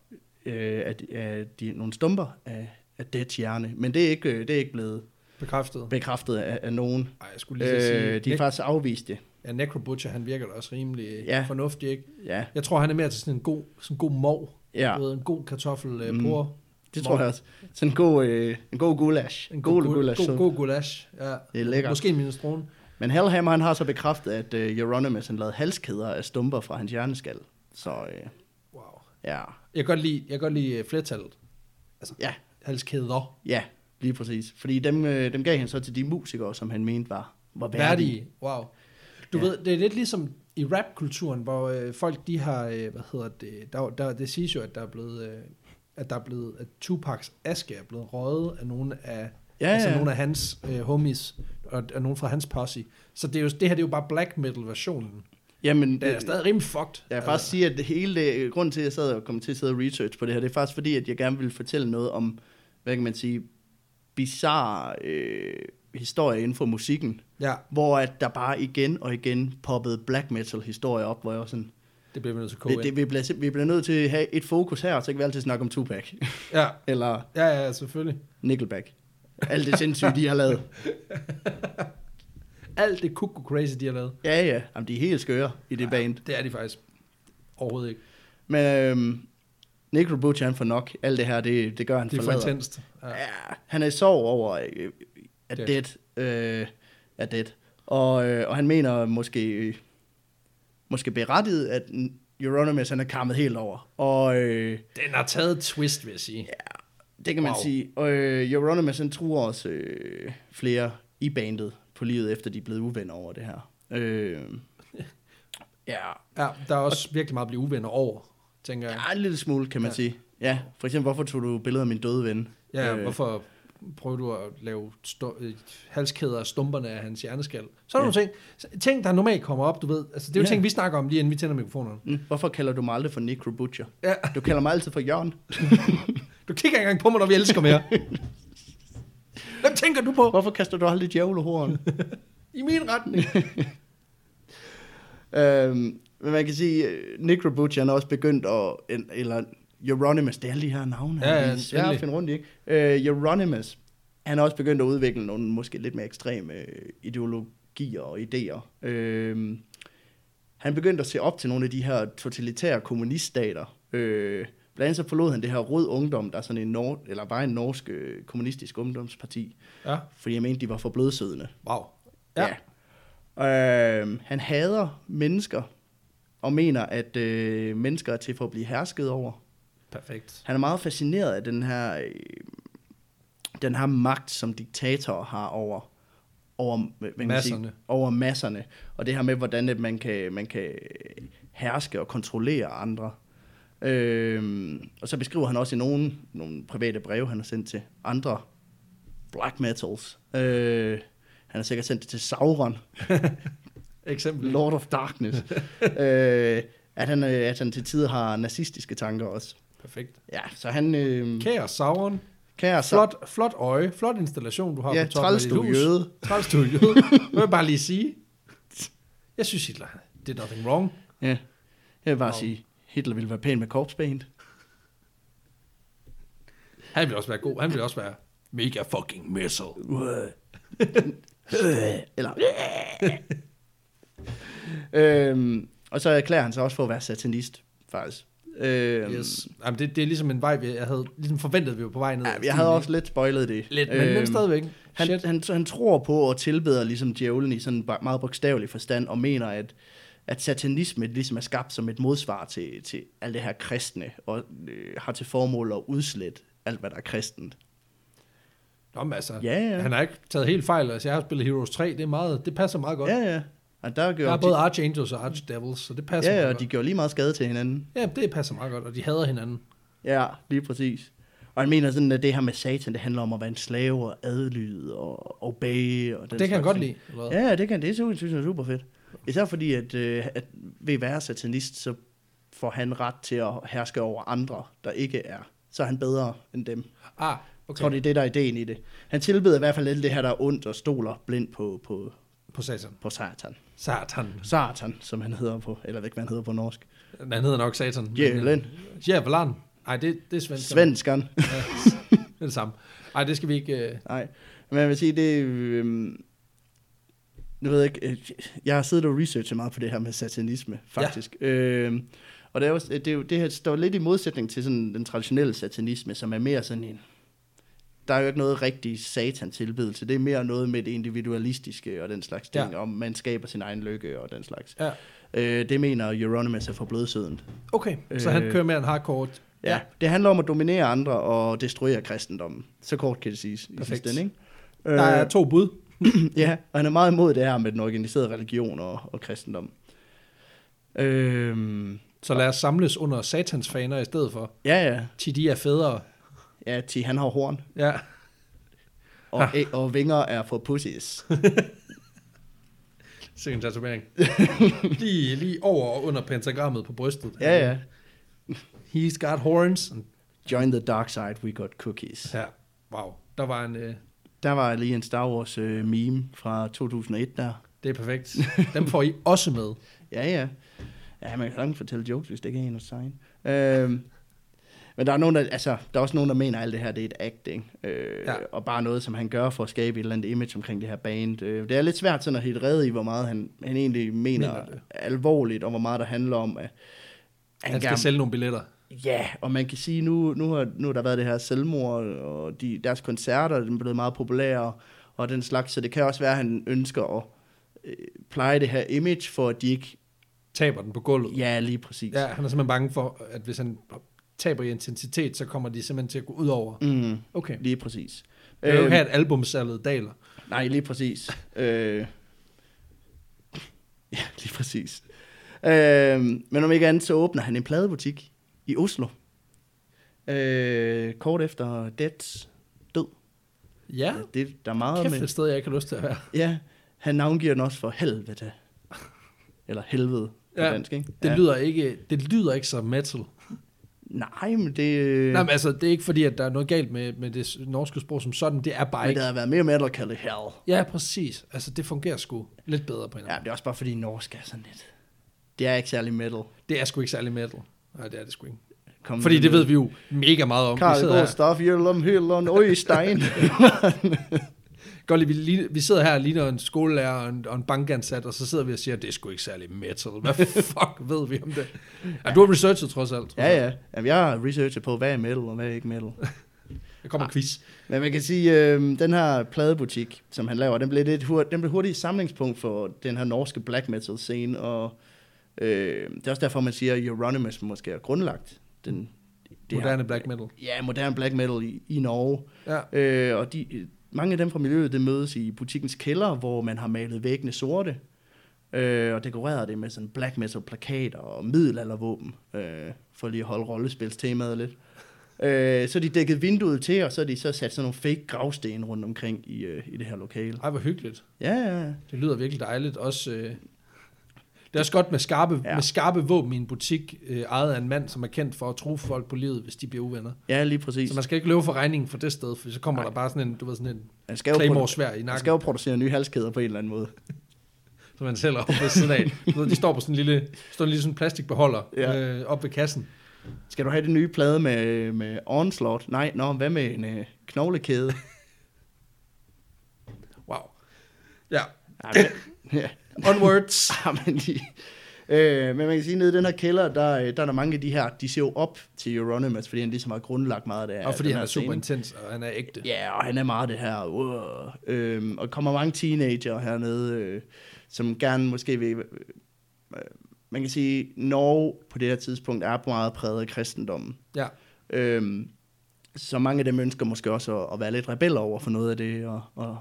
øh, af, af de, nogle stumper af, af Deads hjerne. Men det er ikke, øh, det er ikke blevet Bekræftet. bekræftet af, af nogen. Ej, jeg skulle lige øh, sige, Øh, de har ne- faktisk afvist det. ja, Necro Butcher, han virker da også rimelig Ja. ja. fornuftig, ikke? Ja, Jeg tror, han er mere til sådan en god, sådan en god mov. Ja. Du ved, en god kartoffel øh, Mm. por. det tror jeg også. Sådan en god, øh, en god goulash. En god, gu- goulash. god, god gulasch. Ja. Det er lækkert. Måske en minestrone. Men Hellhammer han har så bekræftet, at øh, Euronymous han lavede halskæder af stumper fra hans hjerneskal. Så øh, Wow. ja, Jeg kan godt lide, jeg kan godt lide øh, flertallet. Altså, Ja. halskæder. Ja, lige præcis. Fordi dem, øh, dem gav han så til de musikere, som han mente var, var værdige. Værdige. Wow. Du Ja. ja. ved, det er lidt ligesom i rapkulturen, hvor øh, folk de har, øh, hvad hedder det, der, der, det siges jo, at der er blevet, øh, at der er blevet, at Tupacs aske er blevet røget af nogle af, Ja, ja, altså ja. nogle af hans øh, homies, og, og nogle fra hans posse. Så det, er jo, det her det er jo bare black metal versionen. Jamen, øh, Det er stadig rimelig fucked. Altså, jeg vil faktisk sige, at det hele det, øh, grunden til, at jeg sad og kom til at sidde og research på det her, det er faktisk fordi, at jeg gerne ville fortælle noget om, hvad kan man sige, bizarre øh, historier inden for musikken. Ja, Hvor at der bare igen og igen poppede black metal historier op, hvor jeg var sådan, det bliver vi nødt til at koge det, det, vi, bliver, sim- vi bliver nødt til at have et fokus her, så kan vi altid snakke om Tupac, (laughs) ind. Ja. eller ja, ja, selvfølgelig. Nickelback. Alt det sindssyge, de har lavet. Alt det kukku crazy, de har lavet. Ja, ja. Jamen, de er helt skøre i det band. Det er de faktisk overhovedet ikke. Men øhm, Necro Butcher, han får nok. Alt det her, det, det gør han Det er for forlader. intenst. Ja. Ja. han er i sorg over, øh, at Dead. Dead øh, er Dead. Og, øh, og han mener måske, øh, måske berettiget, at Euronymous, han er kammet helt over. Og øh, Den har taget et twist, vil jeg sige. det kan man wow. Wow. sige. Og øh, Euronymous, han truer også øh, flere i bandet på livet, efter de er blevet uvenner over det her. Øh, (laughs) Ja, Ja, der er også virkelig meget at blive uvenner over, tænker jeg. ja en lille smule, kan man Ja. ja. sige. Ja, for eksempel, hvorfor tog du billeder af min døde ven? Ja, øh. hvorfor prøver du at lave sto- øh, halskæder af stumperne af hans hjerneskal? Så er der Ja. nogle ting, ting, der normalt kommer op, du ved. Altså, det er jo Ja. ting, vi snakker om lige inden vi tænder mikrofonerne. Mm, Hvorfor kalder du mig aldrig for Necro Butcher? Ja, Du kalder mig altid for (laughs) Jørgen. du kigger ikke engang på mig, når vi elsker mere. Hvem tænker du på? Hvorfor kaster du aldrig djævlehorn? I min retning. øhm, men man kan sige, øh, Necro Butcher han er også begyndt at... en- Eller Euronymous, det er alle de her navne, Ja, han ja, er svære endelig. at finde rundt i. Ikke? Øh, Euronymous, han er også begyndt at udvikle nogle måske lidt mere ekstreme øh, ideologier og idéer. Øhm, han begyndte at se op til nogle af de her totalitære kommuniststater. Øh, blandt andet så forlod han det her Rød Ungdom, der er sådan en nor- eller var en norsk øh, kommunistisk ungdomsparti, Ja, fordi jeg mente, de var for blødsødende. wow. Ja. Ja. ja. Øh, han hader mennesker og mener, at øh, mennesker er til for at blive hersket over. Perfekt. Han er meget fascineret af den her, øh, den her magt, som diktatorer har over, over, hvad kan man sige, Masserne. over masserne. Og det her med, hvordan at man, kan, man kan herske og kontrollere andre. Øhm, og så beskriver han også i nogle, nogle private breve, han har sendt til andre black metals. Øh, han har sikkert sendt det til Sauron. Eksempel. Lord of (laughs) Darkness. øh, at, han, øh, at han til tider har nazistiske tanker også. Perfekt. Ja, så han... Øh, Kære Sauron. kære, så, Flot, flot øje. Flot installation, du har Altså- Ja, på toppen af dit træls, du hus. jøde. Træls, du jøde. Det vil jeg bare lige sige. Jeg synes, Hitler, det er nothing wrong. Ja. Jeg vil bare Wow. sige, Hitler ville være pæn med korpspaint. Han vil også være god. Han vil også være mega fucking missile. (laughs) Eller... øhm, og så erklærer han sig også for at være satanist, faktisk. Øhm, Yes. Jamen, det, det er ligesom en vej, vi- jeg havde ligesom forventet, vi var på vej ned. Ja, jeg havde også lidt spoilet det. Øhm, Lidt, men, men stadigvæk. Han, Han, Shit. han, han tror på og tilbeder ligesom djævlen i sådan ba- meget bogstavelig forstand, og mener, at, at satanisme ligesom er skabt som et modsvar til, til alt det her kristne, og øh, har til formål at udslætte alt, hvad der er kristent. Nå, men altså, Ja, ja. han har ikke taget helt fejl. Altså, jeg har spillet Heroes 3. Det, er meget, det passer meget godt. Ja, ja. Og der, gjorde Der er både Archangels og Archdevils, så det de, passer ja, ja, meget og de gjorde lige meget skade til hinanden. godt. Ja, det passer meget godt, og de hader hinanden. Ja, lige præcis. Og han mener sådan, at det her med satan, det handler om at være en slave og adlyde og obey. Og den Det kan han slags godt ting. lide. Eller? hvad? Ja, ja, det kan det synes synes jeg er super fedt. Især fordi, at, øh, at ved at være satanist, så får han ret til at herske over andre, der ikke er. Så er han bedre end dem. Okay. Ah, Jeg okay. tror, det er det, der er ideen i det. Han tilbeder i hvert fald alt det her, der er ondt og stoler blind på, på, På Satan. på satan. Satan. Satan, som han hedder på, eller hvad han hedder på norsk. Han hedder nok Satan. men- Djævlen. Djævlen. Nej, det, det er svensk. Svenskeren. Det er det samme. Nej, det skal vi ikke... Øh... Nej, men jeg vil sige, det... Øh, nu ved jeg ikke, øh, jeg har siddet og researchet meget på det her med satanisme, faktisk. Ja. Øh, og det, er også, det, er jo, det her står lidt i modsætning til sådan den traditionelle satanisme, som er mere sådan en... Der er jo ikke noget rigtig satan-tilbedelse. Det er mere noget med det individualistiske og den slags Ja. ting, ja. om man skaber sin egen lykke og den slags. Ja. Øh, det mener Euronymous er for blødsødent. Okay, så han Øh. kører mere en hardcore. Ja. ja, det handler om at dominere andre og destruere kristendommen. Så kort kan det siges i Perfekt. sidste ende, ikke? Der er Øh, to bud. (clears throat) ja, og han er meget imod det her med den organiserede religion og, og kristendom. Øhm, Så lad os samles under satans faner i stedet for. ja, ja. Til de er federe. Ja, T, han har horn, Ja. og, æ, og vinger er for pussies. Sikke en (laughs) tatovering. lige, lige over og under pentagrammet på brystet. Ja, ja. He's got horns. And... Join the dark side, we got cookies. Ja, wow. Der var en... Øh... Der var lige en Star Wars øh, meme fra 2001 der. Det er (laughs) perfekt. Dem får I også med. Ja, ja. Ja, man kan sagtens fortælle jokes, hvis det ikke er en hos sign. Øhm, men der er, nogen, der, altså, der er også nogen, der mener, at alt det her det er et acting. Øh, Ja. ja. Og bare noget, som han gør for at skabe et eller andet image omkring det her band. Øh, det er lidt svært sådan at helt redde i, hvor meget han, han egentlig mener, Mener det. mener alvorligt, og hvor meget der handler om, at Han skal sælge nogle billetter. Ja, og man kan sige, nu, nu, har, nu har der været det her selvmord, og de, deres koncerter den er blevet meget populære, og den slags. Så det kan også være, at han ønsker at øh, pleje det her image, for at de ikke... Taber den på gulvet. Ja, lige præcis. Ja, han er simpelthen bange for, at hvis han taber i intensitet, så kommer de simpelthen til at gå ud over. Mm, Okay. Øhm. lige præcis. Jeg Øhm, vil jo ikke have et albumsalget daler. (laughs) nej, lige præcis. Øh, ja, lige præcis. Øh, men om ikke andet, så åbner han en pladebutik i Oslo. Øh, kort efter Deads død. Ja, Det, der er meget kæft med. et sted, jeg ikke har lyst til at være. Ja, han navngiver den også for helvede. Eller helvede på Ja, dansk, ikke? Det, ja. lyder ikke, det lyder ikke så metal. Nej, men det... Øh. Nej, men altså, det er ikke fordi, at der er noget galt med, med det s- norske sprog som sådan. Det er bare men ikke... det havde været mere metal at kalde det hell. Ja, præcis. Altså, det fungerer sgu lidt bedre på en Ja, ja. men det er også bare fordi norsk er sådan lidt... Det er ikke særlig metal. Det er sgu ikke særlig metal. Nej, det er det sgu ikke. Kom Fordi det ved vi jo mega meget om. vi Karl sidder går her, stof, jøllum, hyllum, (laughs) øjstein. godt lige, vi, ligner- vi sidder her og ligner en skolelærer og en, og en bankansat, og så sidder vi og siger, det er sgu ikke særlig metal. (laughs) Hvad fuck ved vi om det? Ja, du har researchet trods alt. tror (laughs) ja, jeg. ja. Jamen, jeg har researchet på, hvad er metal og hvad er ikke metal. Der kommer en quiz. (laughs) Men man kan sige, øh, den her pladebutik, som han laver, den blev, lidt hurt, den blev hurtigt et samlingspunkt for den her norske black metal scene, og øh, det er også derfor, man siger, at Euronymous måske er grundlagt. Den, Det Moderne black metal. Ja, moderne black metal i, i Norge. Ja. Øh, og de, øh, mange af dem fra miljøet, det mødes i butikkens kælder, hvor man har malet væggene sorte, øh, og dekoreret det med sådan black metal plakater og middelaldervåben, øh, for lige at holde rollespilstemaet lidt. Øh, så er de dækket vinduet til, og så er de så sat sådan nogle fake gravsten rundt omkring i, øh, i det her lokale. Ej, hvor hyggeligt. Ja, ja, ja. Det lyder virkelig dejligt. Også, øh, det er også godt med skarpe, Ja. ja. med skarpe våben i en butik, øh, ejet af en mand, som er kendt for at tro folk på livet, hvis de bliver uvenner. ja, lige præcis. Så man skal ikke løbe for regningen for det sted, for så kommer Nej. der bare sådan en, du ved, sådan en Man skal, jo claymore produ- svær i man nakken, skal jo producere nye halskæder på en eller anden måde. som man sælger op ved siden af. Du ved, de står på sådan en lille, står en lille sådan plastikbeholder Ja. øh, op ved kassen. Skal du have det nye plade med, med Onslaught? Nej, nå, hvad med en øh, (laughs) knoglekæde? Wow. Ja, Ja, men- (laughs) ja. (laughs) onwards. (laughs) Jamen, lige. Ah, Øh, men man kan sige, at nede i den her kælder, der, øh, der er der mange af de her, de ser jo op til Euronymous, fordi han ligesom har grundlagt meget af det her. og fordi den han her er super scene. intens, og han er ægte. Ja, og han er meget det her. Uh, øhm, og kommer mange teenager hernede, øh, som gerne måske vil... Øh, man kan sige, at Norge på det her tidspunkt er meget præget af kristendommen. Ja. Øhm, så mange af dem ønsker måske også at, at være lidt rebeller over for noget af det, og, og,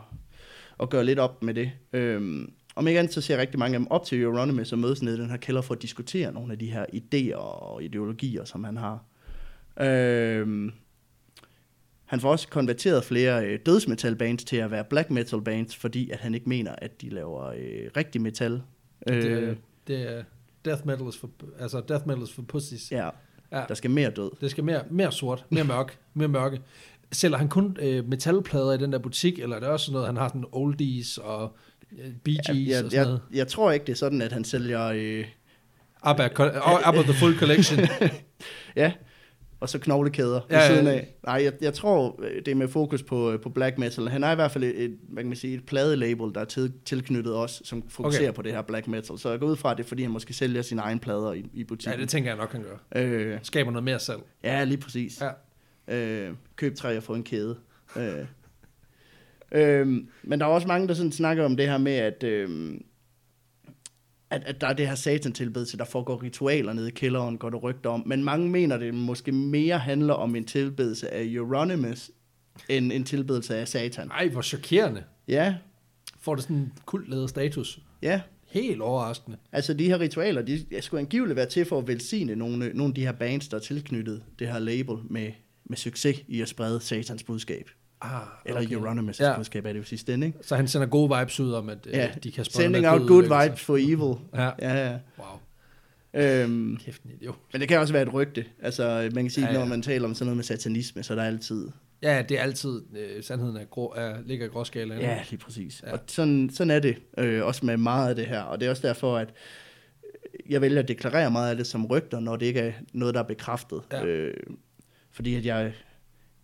og gøre lidt op med det. Øhm, om ikke andet, så ser rigtig mange af dem op til Euronymous og mødes nede i den her kælder for at diskutere nogle af de her idéer og ideologier, som han har. Øhm, han får også konverteret flere øh, dødsmetal bands til at være black metal bands, fordi at han ikke mener, at de laver øh, rigtig metal. Det, Øh, er- det er death metal is for, altså death metal is for pussies. ja, Ja. der skal mere død. Det skal mere, mere sort, mere mørk, mere mørke. Sælger han kun øh, metalplader i den der butik, eller er det også sådan noget, han har sådan oldies og øh, Bee Gees Jeg, jeg, og sådan jeg, noget? jeg tror ikke, det er sådan, at han sælger... Øh, ABBA, ko- og ABBA The Full (laughs) Collection. Ja, og så knoglekæder ja, Ja, ved ja. siden af. Nej, jeg, jeg tror, øh, det er med fokus på, øh, på black metal. Han er i hvert fald et, et, hvad kan man sige, et pladelabel, der er til, tilknyttet os, som fokuserer okay. Okay. på det her black metal. Så jeg går ud fra at det, er, fordi han måske sælger sine egne plader i, i ja, butikken. det tænker jeg nok, han gør. øh, Han skaber noget mere salg. ja, lige præcis. Ja. Øh, køb tre og få en kæde. Øh. Øhm, men der er også mange, der sådan snakker om det her med, at, øhm, at, at der er det her satan-tilbedelse, der foregår ritualer nede i kælderen, går der rygter om. Men mange mener, det måske mere handler om en tilbedelse af Euronymous, end en tilbedelse af satan. Ej, hvor chokerende. Ja, Får det sådan en kultleder status. ja. Helt overraskende. Altså de her ritualer, de skulle angiveligt være til for at velsigne nogle, øh, nogle af de her bands, der er tilknyttet det her label med, med succes i at sprede satans budskab. Ah, Eller okay. Euronymous' ja. Ja. budskab er det jo sidste ende, ikke? Så han sender gode vibes ud om, at Ja, ja. de kan sprede Sending noget out good ødelæggelse. vibes for evil. Ja. Ja, ja. Wow, Øhm, kæft en idiot. men det kan også være et rygte. Altså, man kan sige, ja, Ja, ja. ja. når man taler om sådan noget med satanisme, så er der altid... Ja, det er altid, øh, sandheden er grå, er, ligger i gråskalaen. Ja, lige præcis. Ja. Ja. Og sådan, sådan er det øh, også med meget af det her. Og det er også derfor, at jeg vælger at deklarere meget af det som rygter, når det ikke er noget, der er bekræftet. Ja. Ja. Øh, fordi at jeg,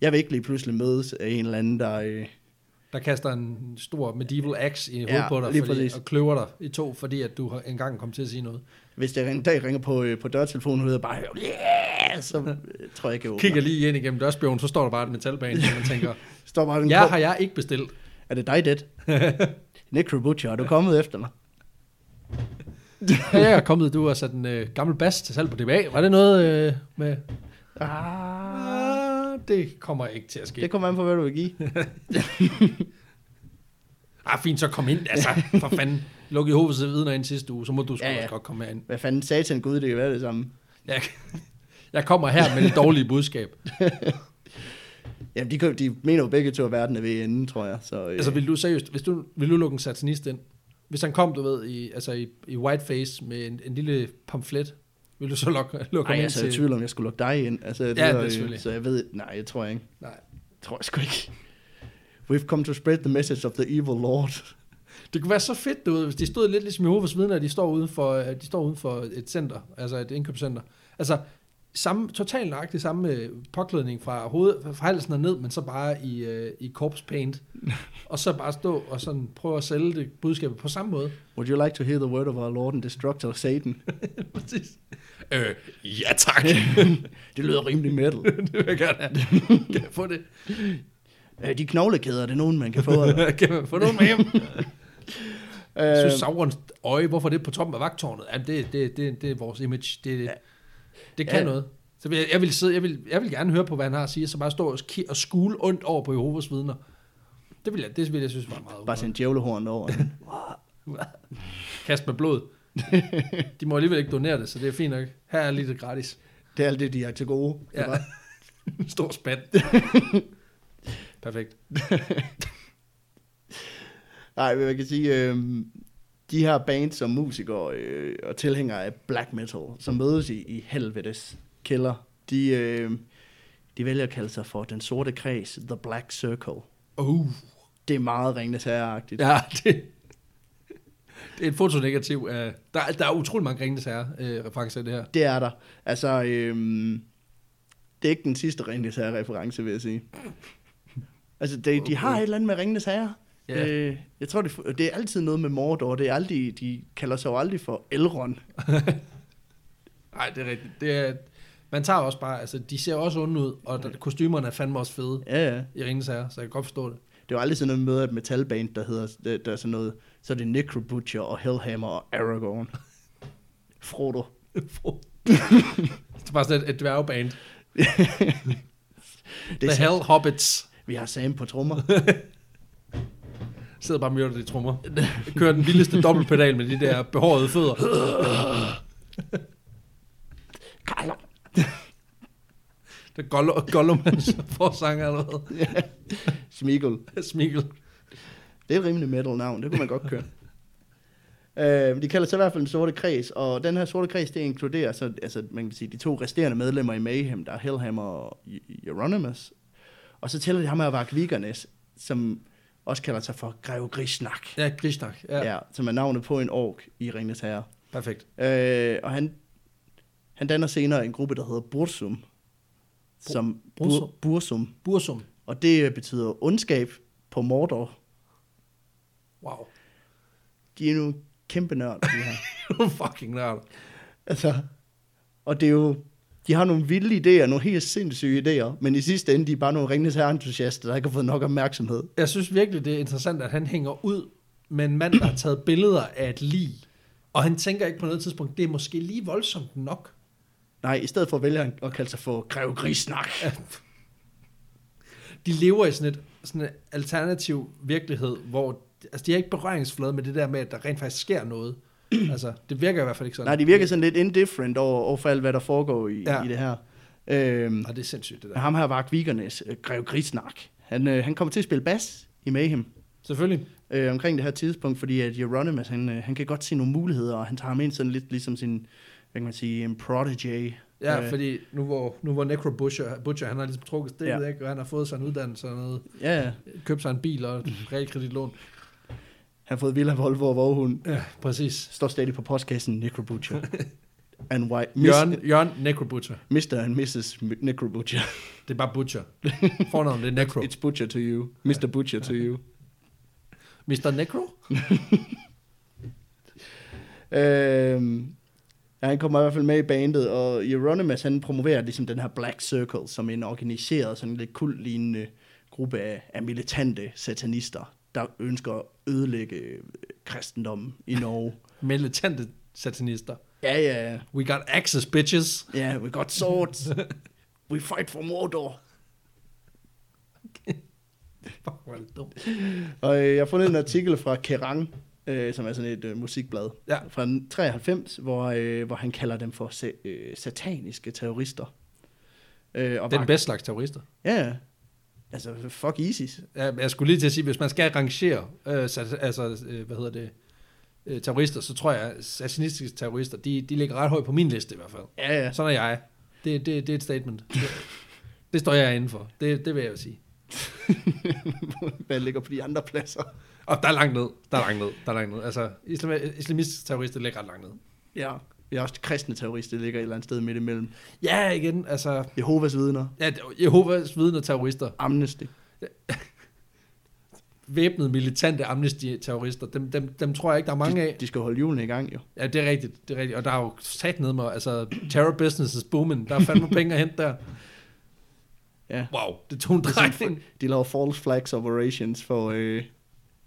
jeg vil ikke lige pludselig mødes af en eller anden, der... Øh, der kaster en stor medieval axe i hovedet Ja, på dig, lige fordi, præcis. og kløver dig i to, fordi at du har engang kom til at sige noget. hvis jeg en dag ringer på, øh, på dørtelefonen, og jeg bare hører, yeah! så øh, tror jeg ikke, jeg åbner. Kigger lige ind igennem dørspjæven, så står der bare et metalbane, og man (laughs) tænker, Står bare den ja kro- har jeg ikke bestilt. Er det (laughs) dig, det? Necrobutcher, er du kommet efter mig? Ja, jeg er kommet, du har sat en øh, gammel bas til salg på DBA. Var det noget øh, med... Ah. Ah, det kommer ikke til at ske. Det kommer an på, hvad du vil give. Ah, fint, så kom ind, altså, for fanden. Luk i hovedet til vidner ind sidste uge, så må du sgu Ja, ja, ja. ja. også godt komme herind. Hvad fanden satan gud, det kan være det samme. Jeg, (laughs) jeg kommer her med det dårlige budskab. Jamen, de, kan- de mener jo begge to, at verden er ved enden, tror jeg. Så, øh, Altså, vil du seriøst, hvis du, vil du lukke en satanist ind? Hvis han kom, du ved, i, altså i, i whiteface med en, en lille pamflet, vil du så lukke, lukke Ej, ham altså, jeg er ind i til? tvivl om, jeg skulle lukke dig ind. Altså, det Ja, var, det er øh, selvfølgelig. Så jeg ved, nej, jeg tror jeg ikke. Nej. Jeg tror jeg sgu ikke. We've come to spread the message of the evil lord. Det kunne være så fedt, du ved, hvis de stod lidt ligesom Jehovas vidner, at de står uden for, at de står uden for et center, altså et indkøbscenter. Altså, samme, totalt nøjagtigt samme øh, påklædning fra, hoved, fra halsen og ned, men så bare i, øh, i corpse paint. og så bare stå og sådan prøve at sælge det budskabet på samme måde. Would you like to hear the word of our lord and destructor Satan? Præcis. Øh, ja tak. (laughs) det lyder rimelig metal. det vil jeg gerne have. Kan jeg få det? Øh, de knoglekæder, det er nogen, man kan (laughs) få. eller? kan man få noget med hjem? Jeg synes, øh, Saurons øje, hvorfor er det på toppen af vagtårnet? Jamen, det, det, det, det er vores image. Det, det, det kan Ja. ja. noget. Så vil jeg, jeg, vil sidde, jeg, vil, jeg vil gerne høre på, hvad han har at sige, så bare stå og, ki- og skule ondt over på Jehovas vidner. Det vil jeg, det vil jeg synes var meget bare ubehageligt. sende djævlehorn over. Kast med blod. De må alligevel ikke donere det, så det er fint nok. Her er lige det gratis. det er alt det, de har til gode. Det er Ja. bare- (laughs) Stor spand. Perfekt. Nej, men man kan sige, øh, de her bands som musikere øh, og tilhængere af black metal, som mødes i, i helvedes kælder, de, øh, de vælger at kalde sig for den sorte kreds, The Black Circle. Uh, Det er meget ringende særagtigt. ja, det, det er et fotonegativ. af... der, er- der er utrolig mange ringende sager, øh, referencer i det her. Det er der. Altså, øh, det er ikke den sidste ringende sager reference, vil jeg sige. Altså, de, de har et eller andet med ringende sager. Ja. Øh, jeg tror, det, det er altid noget med Mordor. Det er aldrig, de kalder sig jo aldrig for Elrond. (laughs) Nej, det er rigtigt. Det er, man tager også bare, altså de ser også onde ud, og der, kostymerne er fandme også fede Ja, ja. i ringens herre, så jeg kan godt forstå (laughs) det. Det var aldrig sådan noget med, at metalband, der hedder der, der er sådan noget, så er det Necrobutcher og Hellhammer og Aragorn. (laughs) Frodo. det er bare sådan et, et dværgband. Det er The så, Hell Hobbits vi har Sam på (laughs) trommer. sidder bare og myrder de trommer. Kører den vildeste dobbeltpedal med de der behårede fødder. (laughs) Det er Gollum, Gollum altså, (laughs) forsanger allerede. Smigel. Smigel. Det er et rimelig metal navn, det kunne man godt køre. Øh, de kalder sig i hvert fald den sorte kreds, og den her sorte kreds, det inkluderer så, altså, man kan sige, de to resterende medlemmer i Mayhem, der er Hellhammer og Euronymous. Og så tæller de ham her Vark Vigernes, som også kalder sig for Greve Grisnak. Ja, Grishnak. Ja, Ja. ja. ja. som er navnet på en ork i Ringnes Herre. perfekt. Øh, og han, han danner senere en gruppe, der hedder Bursum. Som Bursum? Bur, Bursum. Bursum. Og det øh, betyder ondskab på Mordor. Wow. (laughs) De er nu kæmpe nørd, de her. fucking nørd. (laughs) altså, og det er jo... De har nogle vilde idéer, nogle helt sindssyge idéer, men i sidste ende, de er bare nogle Ringnes Herre-entusiaster, der ikke har fået nok opmærksomhed. Jeg synes virkelig, det er interessant, at han hænger ud med en mand, der har taget billeder af et lig. Og han tænker ikke på noget tidspunkt, det er måske lige voldsomt nok. Nej, i stedet for vælger han at kalde sig for Greve Grisnak. De lever i sådan et, sådan et alternativ virkelighed, hvor altså, de har ikke berøringsflade med det der med, at der rent faktisk sker noget. (clears throat) altså, det virker i hvert fald ikke sådan. Nej, de virker sådan lidt indifferent over, over for alt, hvad der foregår i, ja. Ja. i det her. Øhm, Nej, Ah, det er sindssygt, det Ja. der. Ham her, Vark Vigernes, øh, Grev Grisnak, han, øh, han kommer til at spille bas i Mayhem Selvfølgelig. øh, omkring det her tidspunkt, fordi at Euronymous, han, øh, han kan godt se nogle muligheder, og han tager ham ind sådan lidt ligesom sin, hvad kan man sige, en prodigy. Ja, Øh, fordi nu hvor, nu hvor Necro Butcher, Butcher, han har ligesom trukket stikket, Ja. ja. ikke? og han har fået sig en uddannelse og noget, Ja, købt sig en bil og Mhm. et realkreditlån. han har fået Villa Volvo og Våghund, Ja, præcis. står stadig på postkassen, (laughs) Necrobutcher. And white, Miss, Jørgen, Jørgen Necro Butcher. Mr. and Mrs. M- Necrobutcher. Det er bare Butcher. Fornavnet det er Necro. It's Butcher to you. Mr. Butcher to you. Mr. Necro? Øhm, ja, han kommer i hvert fald med i bandet, og Euronymous, han promoverer ligesom den her Black Circle, som en organiseret, sådan lidt kultlignende gruppe af, af militante satanister, der ønsker at ødelægge øh, kristendommen i Norge. Militante satanister. (laughs) ja, ja, ja. We got access, bitches. yeah, we got (laughs) swords. We fight for Mordor. Fuck, hvor er det dumt. Og øh, jeg har fundet en artikel fra Kerrang, øh, som er sådan et øh, musikblad Ja. fra 93, hvor, øh, hvor han kalder dem for sa- øh, sataniske terrorister. Øh, og Den bare- bedste slags terrorister. Ja, ja. altså fuck ISIS. Ja, men Jeg skulle lige til at sige, hvis man skal rangere, øh, sat- altså, øh, hvad hedder det, øh, terrorister, så tror jeg, at satanistiske terrorister, de, de ligger ret højt på min liste i hvert fald. Ja, ja. Sådan er jeg. Det, det, det er et statement. Det, det står jeg indenfor. Det, det vil jeg jo sige. (laughs) Hvad ligger på de andre pladser? Og der er langt ned. Der er langt ned. Der er langt ned. Altså, islam, islamistiske terrorister ligger ret langt ned. Ja. Jeg er også kristne terrorister, ligger et eller andet sted midt imellem. Ja, igen, altså... Jehovas vidner, Ja, Jehovas vidner terrorister, Amnesty. væbnede militante amnesty-terrorister, dem, dem, dem tror jeg ikke, der er mange af. De, de skal holde julen i gang, jo. Ja, det er rigtigt, det er rigtigt. Og der er jo sat ned med, altså, terror business is booming. Der er fandme penge at hente der. Ja. Wow, det tog en Det (laughs) er sådan, drejning. de laver false flags operations, for, øh,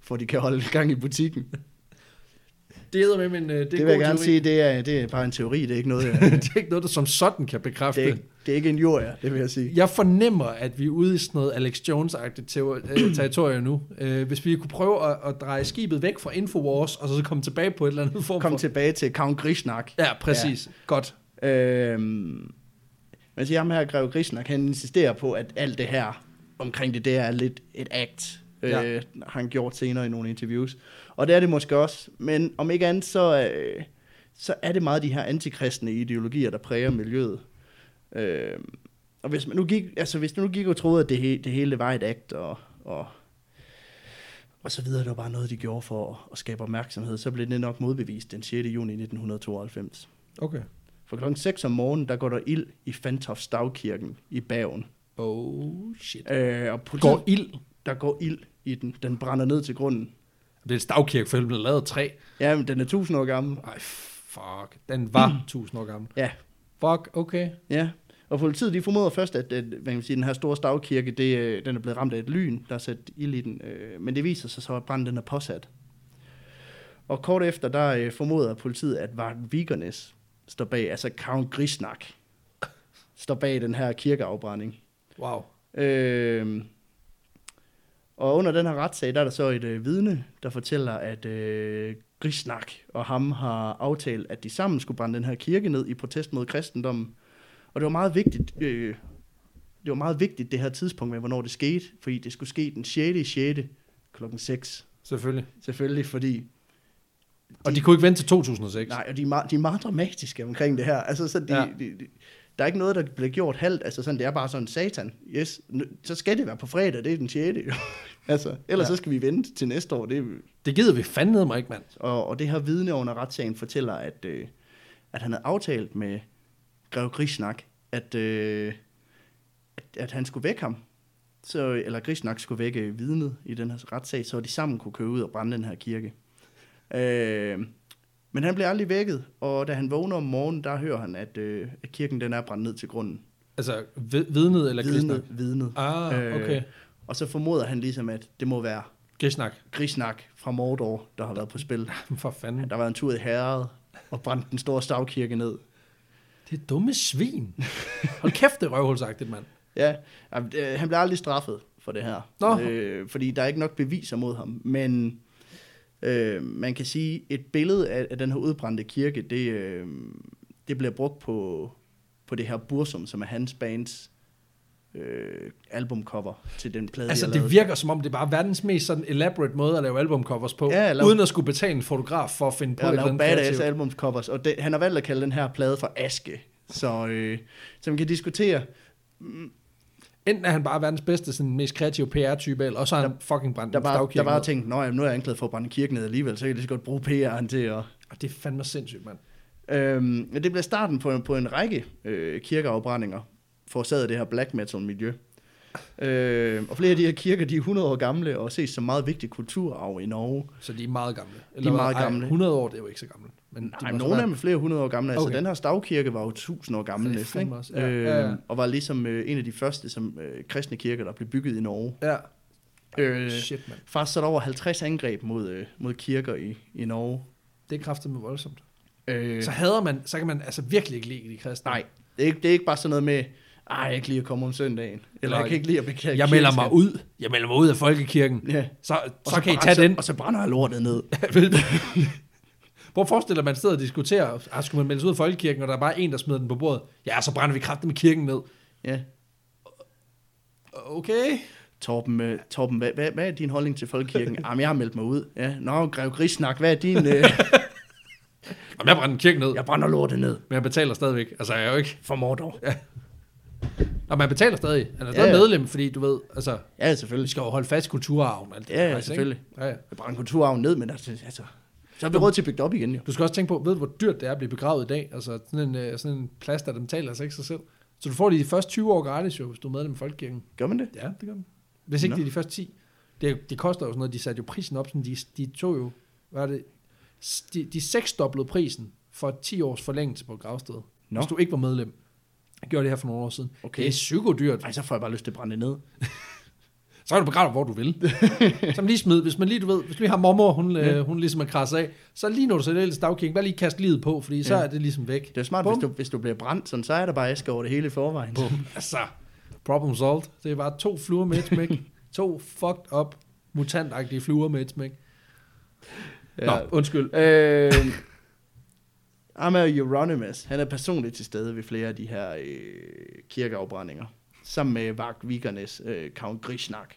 for de kan holde gang i butikken. Det, Det hedder med, men øh, det er det en vil jeg god gerne teori. sige, det er, det er bare en teori, det er ikke noget, jeg, (laughs) det er ikke noget, der som sådan kan bekræfte. det, er ikke, det er ikke en jord, ja, det vil jeg sige. Jeg fornemmer, at vi er ude i sådan noget Alex Jones-agtigt teo- øh, territorium nu. Øh, hvis vi kunne prøve at, at dreje skibet væk fra Infowars, og så komme tilbage på et eller andet form Kom for... tilbage til Count Grishnak. Ja, præcis. Ja. Godt. Øhm, men så ham her, Greve Grishnak, han insisterer på, at alt det her omkring det, det er lidt et act, øh, Ja. har han gjort senere i nogle interviews. Og det er det måske også, men om ikke andet, så, øh, så er det meget de her antikristne ideologier, der præger miljøet. Øh, og hvis man nu gik, altså hvis man nu gik og troede, at det, he, det hele var et act, og, og, og så videre, det var bare noget, de gjorde for at, at skabe opmærksomhed, så blev det nok modbevist den 6. juni 1992. Okay. For klokken 6 om morgenen, der går der ild i Fantofs dagkirken i Bergen. Oh, shit. Øh, og politiet, Går går ild. der går ild i den. Den brænder ned til grunden. Det er en stavkirke, for den blev lavet af træ. Ja, men den er tusind år gammel. Ej, fuck. Den Mm. var tusind år gammel. Ja, Fuck, okay. ja. Og politiet, de formoder først, at, at hvad kan man sige, den her store stavkirke, det, øh, den er blevet ramt af et lyn, der er sat ild i den. Øh, men det viser sig så, at branden den er påsat. Og kort efter, der øh, formoder politiet, at Vart Vigernes står bag, altså Count Grisnak, står bag den her kirkeafbrænding. Wow. Øh, og under den her retssag, der er der så et øh, vidne, der fortæller, at øh, Grisnak og ham har aftalt, at de sammen skulle brænde den her kirke ned i protest mod kristendommen. Og det var meget vigtigt, øh, det var meget vigtigt det her tidspunkt med, hvornår det skete, fordi det skulle ske den 6. 6. klokken 6. Selvfølgelig. Selvfølgelig, fordi Og de kunne ikke vente til 2006. Nej, og de er, meget, de er meget dramatiske omkring det her. Altså, så de, Ja. ja. de, de, der er ikke noget, der bliver gjort halvt. Altså, sådan, det er bare sådan, satan, yes, nu, så skal det være på fredag, det er den 6. jo. (laughs) altså, ellers Ja. ja. så skal vi vente til næste år. Det, er- Det gider vi fandme mig ikke, mand. og, og det her vidne under retssagen fortæller, at, øh, at han havde aftalt med Grev Grisnak, at, øh, at, at han skulle vække ham. Så, eller Grisnak skulle vække vidnet i den her retssag, så de sammen kunne køre ud og brænde den her kirke. Øh, men han blev aldrig vækket, og da han vågner om morgenen, der hører han, at, øh, at kirken den er brændt ned til grunden. Altså, vi- vidnet eller Vidnet, grisnak? vidnet. Øh, Ah, okay. og så formoder han ligesom, at det må være Grisnak. (laughs) Grisnak fra Mordor, der har været på spil. For fanden. Der var en tur i Herred og brændte den store stavkirke ned. Det er dumme svin. Hold kæft, det er røvhulsagtigt, mand. Ja, jamen, det- han blev aldrig straffet for det her. Nå. Øh, fordi der er ikke nok beviser mod ham. Men øh, man kan sige, et billede af, af den her udbrændte kirke, det, øh, det bliver brugt på, på det her Bursum, som er hans bands øh, albumcover til den plade, Altså, de har det lavet. virker som om, det er bare verdens mest sådan elaborate måde at lave albumcovers på, Ja, eller- uden at skulle betale en fotograf for at finde på et Jeg har eller lavet andet badass kreativt. albumcovers, og det, han har valgt at kalde den her plade for Aske. Så, øh, så man kan diskutere, Enten er han bare verdens bedste, sådan mest kreative PR-type, eller også har han fucking brændt Der en var, der stavkirke. var ned. tænkt, at nu er jeg anklaget for at brænde kirken ned alligevel, så kan jeg lige så godt bruge PR'en til at... Og det er fandme sindssygt, mand. Øhm, men det blev starten på, på en række øh, kirkeafbrændinger, forårsaget af det her black metal miljø. Øh, og flere af de her kirker, de er 100 år gamle og ses som meget vigtig kulturarv i Norge. Så de er meget gamle. er hvad? meget Ej, gamle. 100 år, det er jo ikke så gammelt. Men de Nej, må så nogle af være- dem er flere hundrede år gamle. Okay. Okay. Altså, den her stavkirke var jo tusind år gammel Det er næsten, fandme ikke? også- ja, Ja, øh, ja, ja. Og var ligesom øh, en af de første som, øh, kristne kirker, der blev bygget i Norge. Ja, Øh, shit, mand. faktisk så er der over 50 angreb mod, øh, mod kirker i, i Norge. Det er kraftigt med voldsomt. Øh, Så hader man, så kan man altså virkelig ikke lide de kristne. Nej, det er, ikke, det er ikke bare sådan noget med, "Ah, Ej, jeg kan ikke lide at komme om søndagen. Eller Nej. jeg kan ikke lide at bekære Jeg melder mig ud. Jeg melder mig ud af folkekirken. Ja. Så, Og så, så kan I tage den. (laughs) Og så brænder jeg lortet ned. Hvor forestiller man sidder og diskuterer, ah, skulle man melde sig ud af folkekirken, og der er bare en, der smider den på bordet. Ja, så brænder vi kraften med kirken ned. Ja. Okay. Torben, øh, Torben hvad, hvad, hvad er din holdning til folkekirken? (laughs) Jamen, jeg har meldt mig ud. Ja. Nå, Grev Grisnak, hvad er din... Øh, Jamen, (laughs) jeg brænder en kirke ned, jeg brænder lortet ned. men jeg betaler stadigvæk. Altså, jeg er jo ikke for mordor. Ja. Og man betaler stadig. Han er Ja, stadig ja. medlem, fordi du ved, altså, Ja, vi selvfølgelig. skal jo holde fast i kulturarven. og Alt det Ja, der, ja, faktisk, selvfølgelig. Ikke? Ja, ja. Jeg brænder kulturarven ned, men altså, altså så har vi råd til at bygge det op igen, jo. Du skal også tænke på, ved du, hvor dyrt det er at blive begravet i dag? Altså, sådan en, øh, sådan en plads, der den taler altså ikke sig selv. Så du får de første 20 år gratis, jo, hvis du er medlem af Folkekirken. Gør man det? Ja, det gør man. Hvis ikke Nå. det er de første 10. Det, det koster jo sådan noget, de satte jo prisen op, sådan de, de tog jo, hvad er det, S- de, de seksdoblede prisen for 10 års forlængelse på et gravsted. Nå. Hvis du ikke var medlem. Jeg gjorde det her for nogle år siden. Okay. Det er psykodyrt. Ej, så får jeg bare lyst til at brænde det ned. Så kan du begrave, hvor du (laughs) vil. så lige smid, hvis man lige, du ved, hvis vi har mormor, hun, ja. hun ligesom er krasset af, så lige når du sætter ellers dagkirken, bare lige kast livet på, fordi så Ja. er det ligesom væk. Det er smart, Bum. hvis du, hvis du bliver brændt, sådan, så er der bare æske over det hele i forvejen. Altså, problem solved. Det er bare to fluer med et (laughs) smæk. to fucked up, mutantagtige fluer med et smæk. Ja. Nå, undskyld. (laughs) Øh, Amager Euronymous, han er personligt til stede ved flere af de her øh, kirkeafbrændinger, sammen med Vagt Vikernes, øh, Count Grisnak.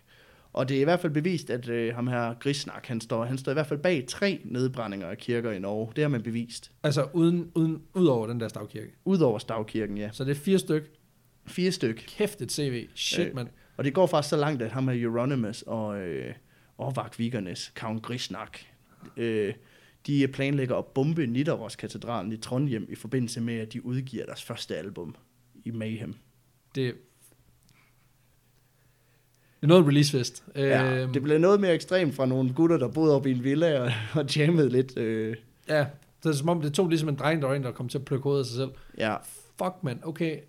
Og det er i hvert fald bevist, at øh, ham her Grisnak, han står, han står i hvert fald bag tre nedbrændinger af kirker i Norge. Det har man bevist. Altså, uden, uden, ud over den der stavkirke. Udover Stavkirken, ja. Så det er fire styk. Fire styk. Kæft et CV. Shit, Øh. mand. Og det går faktisk så langt, at ham er Euronymous og, øh, og Vagt Vikernes, Count Grisnak, øh, de planlægger at bombe Nidaros-katedralen i Trondheim i forbindelse med, at de udgiver deres første album i Mayhem. Det, det er noget af en releasefest. Ja, Øhm, det blev noget mere ekstremt fra nogle gutter, der boede op i en villa og, (laughs) og jammede lidt. Øh, ja, det er som om, det tog ligesom en dreng, der var en, der kom til at plukke hovedet af sig selv. ja. Fuck, mand. Okay,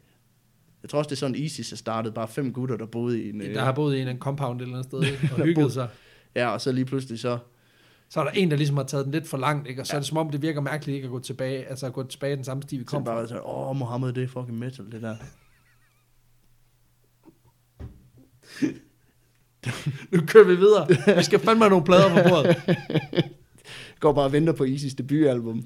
Jeg tror også, det er sådan ISIS er startet. Bare fem gutter, der boede i en... Øh, der har boet i en eller anden compound et eller (laughs) andet sted, ikke? og Der hygget boede- sig. ja, og så lige pludselig så... Så er der en, der ligesom har taget den lidt for langt, ikke? og så er det som om, det virker mærkeligt ikke at gå tilbage, altså at gå tilbage den samme sti, vi Kom kom fra. bare sådan, åh, Mohammed, det er fucking metal, det der. Nu kører vi videre. Vi skal fandme have nogle plader på (laughs) bordet. Går bare og venter på ISIS debutalbum.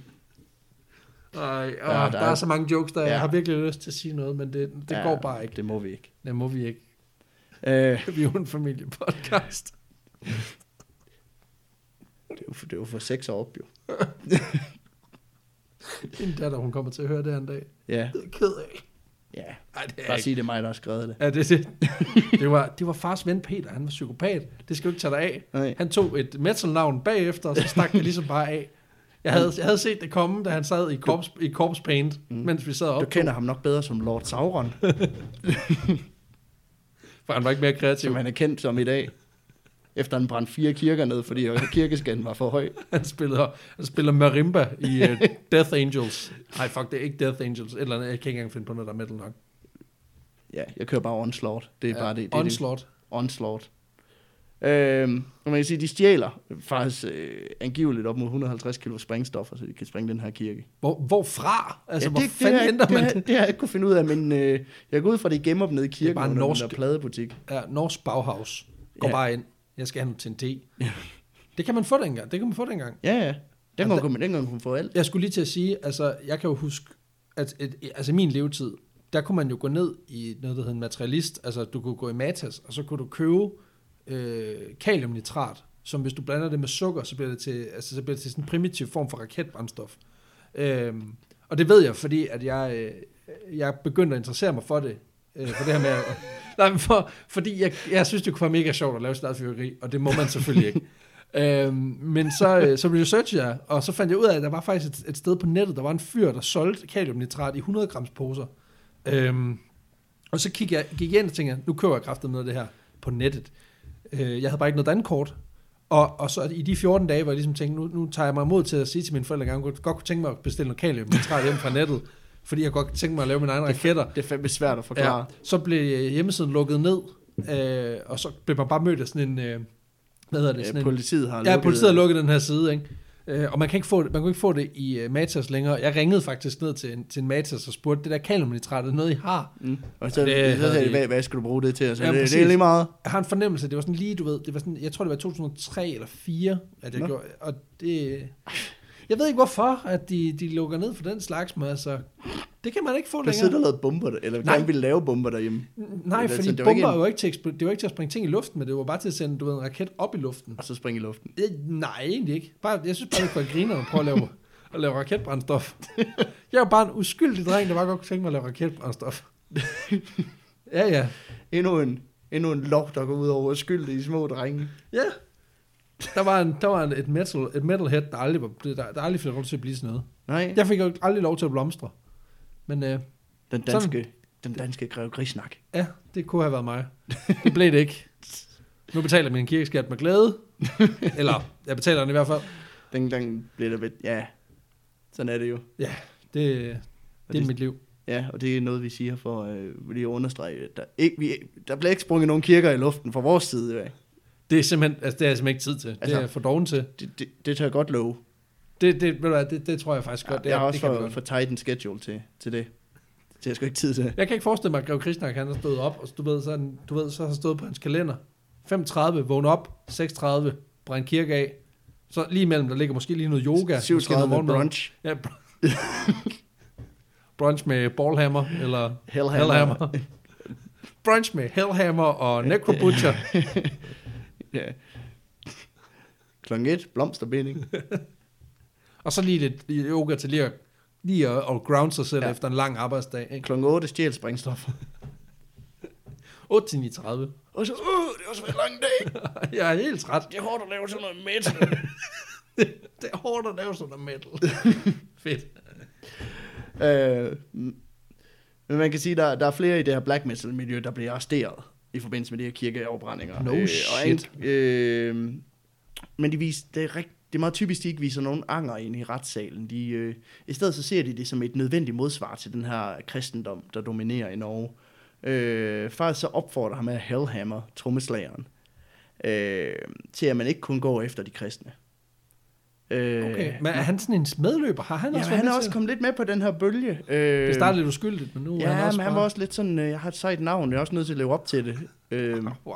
Ej, øh, der der, er- der er så mange jokes, der ja. Ja. jeg har virkelig lyst til at sige noget, men det, det ja. går bare ikke. Det må vi ikke. Det må vi ikke. (laughs) Øh, Vi er jo en familiepodcast. Det var for, det var for seks år op, jo. Min datter, hun kommer til at høre det her en dag. Ja, Det er jeg ked af. ja. Ej, det er Bare jeg ikke. sig, det er mig, der har skrevet det. Ja, det, (laughs) er det. det, var, det var fars ven Peter, han var psykopat. Det skal du ikke tage dig af. Nej. Han tog et metal-navn bagefter, og så stak det ligesom bare af. Jeg havde, jeg havde set det komme, da han sad i korps, i korps paint, mm. mens vi sad op. Du kender ham nok bedre som Lord (laughs) Sauron, For han var ikke mere kreativ. som han er kendt som i dag. Efter han brændte fire kirker ned, fordi kirkeskatten var for høj. Han spiller, han spiller marimba i (laughs) uh, Death Angels. Nej, fuck, det er ikke Death Angels. Et eller andet, jeg kan ikke engang finde på noget, der er metal nok. Ja, jeg kører bare onslaught. Det er bare det. det, er Onslaught. Det. Onslaught. Øhm, og man kan sige, de stjæler faktisk øh, angiveligt op mod 150 kilo sprængstoffer, så de kan sprænge den her kirke. Hvor, hvorfra? Altså, ja, hvor det, det, fanden har jeg- henter det, man har- det? Det har jeg ikke kunne finde ud af, men øh, jeg går ud fra, det er gemt op nede i kirken, bare en under norsk... norsk- den der pladebutik. Ja, Norsk Bauhaus. Gå Ja. bare ind. Jeg skal have den til en te. Det kan man få dengang. Det kan man få dengang. Ja, ja. Den Og gang kunne man, den gang kunne man få alt. Jeg skulle lige til at sige, altså, jeg kan jo huske, at et, altså min levetid, der kunne man jo gå ned i noget, der hedder en materialist. Altså, du kunne gå i Matas, og så kunne du købe øh, kaliumnitrat, som hvis du blander det med sukker, så bliver det til, altså, så bliver det til sådan en primitiv form for raketbrændstof. Øhm, og det ved jeg, fordi at jeg, øh, jeg begyndte at interessere mig for det, øh, for det her med at, Nej, men for, fordi jeg, jeg synes, det kunne være mega sjovt at lave sit eget fyrværkeri, og det må man selvfølgelig ikke. øhm, men så, øh, så researchede jeg, og så fandt jeg ud af, at der var faktisk et, et sted på nettet, der var en fyr, der solgte kaliumnitrat i 100 grams poser. Øhm, og så gik jeg, gik jeg ind og tænkte, nu køber jeg kraftet med det her på nettet. Øh, jeg havde bare ikke noget dankort. Og, og så i de 14 dage, hvor jeg ligesom tænkte, nu, nu tager jeg mig mod til at sige til mine forældre, at jeg godt, godt kunne tænke mig at bestille noget kaliumnitrat hjem fra nettet, fordi jeg godt kunne tænke mig at lave mine egne raketter. Det er fandme svært at forklare. Ja, så blev hjemmesiden lukket ned, øh, og så blev man bare mødt af sådan en, øh, hvad hedder det, Ja, sådan en, politiet har ja, politiet har lukket den her side, ikke? Øh, og man kan ikke få det, man kunne ikke få det i uh, Matas længere. Jeg ringede faktisk ned til en, til en Matas og spurgte, det der kaliumnitrat, er det noget, I har? Mm. Og så, Og det det, så havde sagde de, de- hvad, hvad skal du bruge det til? Og Så, Ja, ja, det, det, er præcis. lige meget. Jeg har en fornemmelse, det var sådan lige, du ved, det var sådan, jeg tror det var 2003 eller 4, at jeg Nå. Nå. gjorde, og det, jeg ved ikke hvorfor, at de, de lukker ned for den slags, men altså, det kan man ikke få Der sidder der længere. og lavet bomber, der- eller Nej. gerne vil lave bomber derhjemme. Nej, Altså, fordi det var ikke bomber er en- jo ikke til, at eksplo- det var ikke til at springe ting i luften, men det var bare til at sende, du ved, en raket op i luften. Og så springe i luften. Øh, nej, egentlig ikke. Bare, jeg synes bare, det kunne være griner at prøve at lave, at lave raketbrændstof. Jeg var bare en uskyldig dreng, der bare godt kunne tænke mig at lave raketbrændstof. ja, ja. Endnu en, endnu en lov, der går ud over skyldige små drenge. Ja. Der var, en, der var en, et, metal, et metalhead, der aldrig, var, der, der aldrig fik lov til at blive sådan noget. Nej, Jeg fik jo aldrig lov til at blomstre. Men øh, den danske, den danske greve grisnak. ja, det kunne have været mig. Det blev det ikke. Nu betaler jeg min kirkeskat med glæde. Eller, jeg betaler den i hvert fald. Den, den bliver der ved, ja, sådan er det jo. Ja, det, Og det er det- mit liv. Ja, og det er noget, vi siger for øh, lige at understrege. at Der, ikke, vi, der bliver ikke sprunget nogen kirker i luften fra vores side. Ja. Det er simpelthen, altså, det har jeg simpelthen ikke tid til. Altså, Altså- det er jeg for doven til. Det, det, det tør jeg godt love. Det, det, ved du hvad, det, det tror jeg faktisk godt. Ja, det, jeg har også det kan vi for, godt. for tight en schedule til, til det. Det har jeg sgu ikke tid til. Jeg kan ikke forestille mig, at Greve Krishnak, han har stået op, og du ved, så, er den- du ved, så har han stået på hans kalender. 5.30, vågn op, 6.30, brænd kirke af. Så lige imellem, der ligger måske lige noget yoga. 37 brunch. Ja, br- (laughs) brunch med ballhammer, eller Hellhammer. hellhammer. (laughs) brunch med hellhammer og necrobutcher. (laughs) Ja. Klokken et, blomsterbinding. og så lige lidt yoga til lige at, lige at, at ground sig selv Ja. ja. efter en lang arbejdsdag. Ikke? Klokken 8, stjæl sprængstoffer. 8.30. Og så, uh, det var så en lang dag. (laughs) Jeg er helt træt. Det er hårdt at lave sådan noget metal. Det er hårdt at lave sådan noget (laughs) metal. Fedt. Øh, men man kan sige, der, der er flere i det her black metal miljø, der bliver arresteret i forbindelse med de her kirkeoverbrændinger. No Og shit. en, øh, men de vis, det, er rigt, det er meget typisk, de ikke viser nogen anger ind i retssalen. De, øh, I stedet så ser de det som et nødvendigt modsvar til den her kristendom, der dominerer i Norge. Øh, faktisk så opfordrer ham af Hellhammer, trommeslageren, øh, til at man ikke kun går efter de kristne. Øh, Okay. Men er han sådan en medløber? Har han Ja, også men været han med er til også det? kommet lidt med på den her bølge. Øh, Det startede lidt uskyldigt, men nu Ja, er han også men han var også lidt sådan, øh, jeg har et sejt navn, jeg er også nødt til at leve op til det. Øh, (laughs) Wow.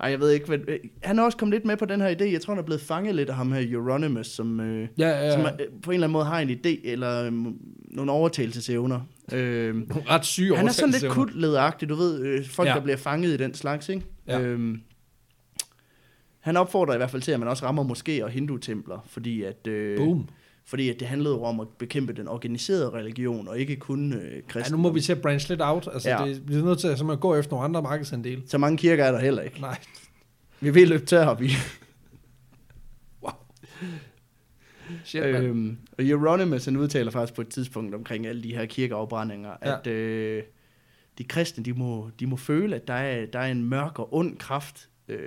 ej, jeg ved ikke, hvad, øh, han er også kommet lidt med på den her idé. Jeg tror, han er blevet fanget lidt af ham her Euronymous, som, øh, Ja, ja. ja, som ja. øh, på en eller anden måde har en idé, eller øh, nogle overtagelsesevner. Øh, Nogle ret syge han er sådan lidt overtagelsesevner. kutlederagtig, du ved, øh, folk, ja. Ja. der bliver fanget i den slags, ikke? Ja. Øhm, han opfordrer i hvert fald til, at man også rammer moskéer og hindu-templer, fordi at... Øh, Boom. fordi at det handlede jo om at bekæmpe den organiserede religion, og ikke kun øh, Ja, kristne. nu må vi til at branch lidt out. Altså, Ja. ja. det, vi er nødt til at, simpelthen gå efter nogle andre markedsandele. Så mange kirker er der heller ikke. Nej. Vi vil løbe tør, vi. Shit, øh, øhm, og Euronymous, han udtaler faktisk på et tidspunkt omkring alle de her kirkeafbrændinger, ja. Ja. at øh, de kristne, de må, de må føle, at der er, der er en mørk og ond kraft, øh,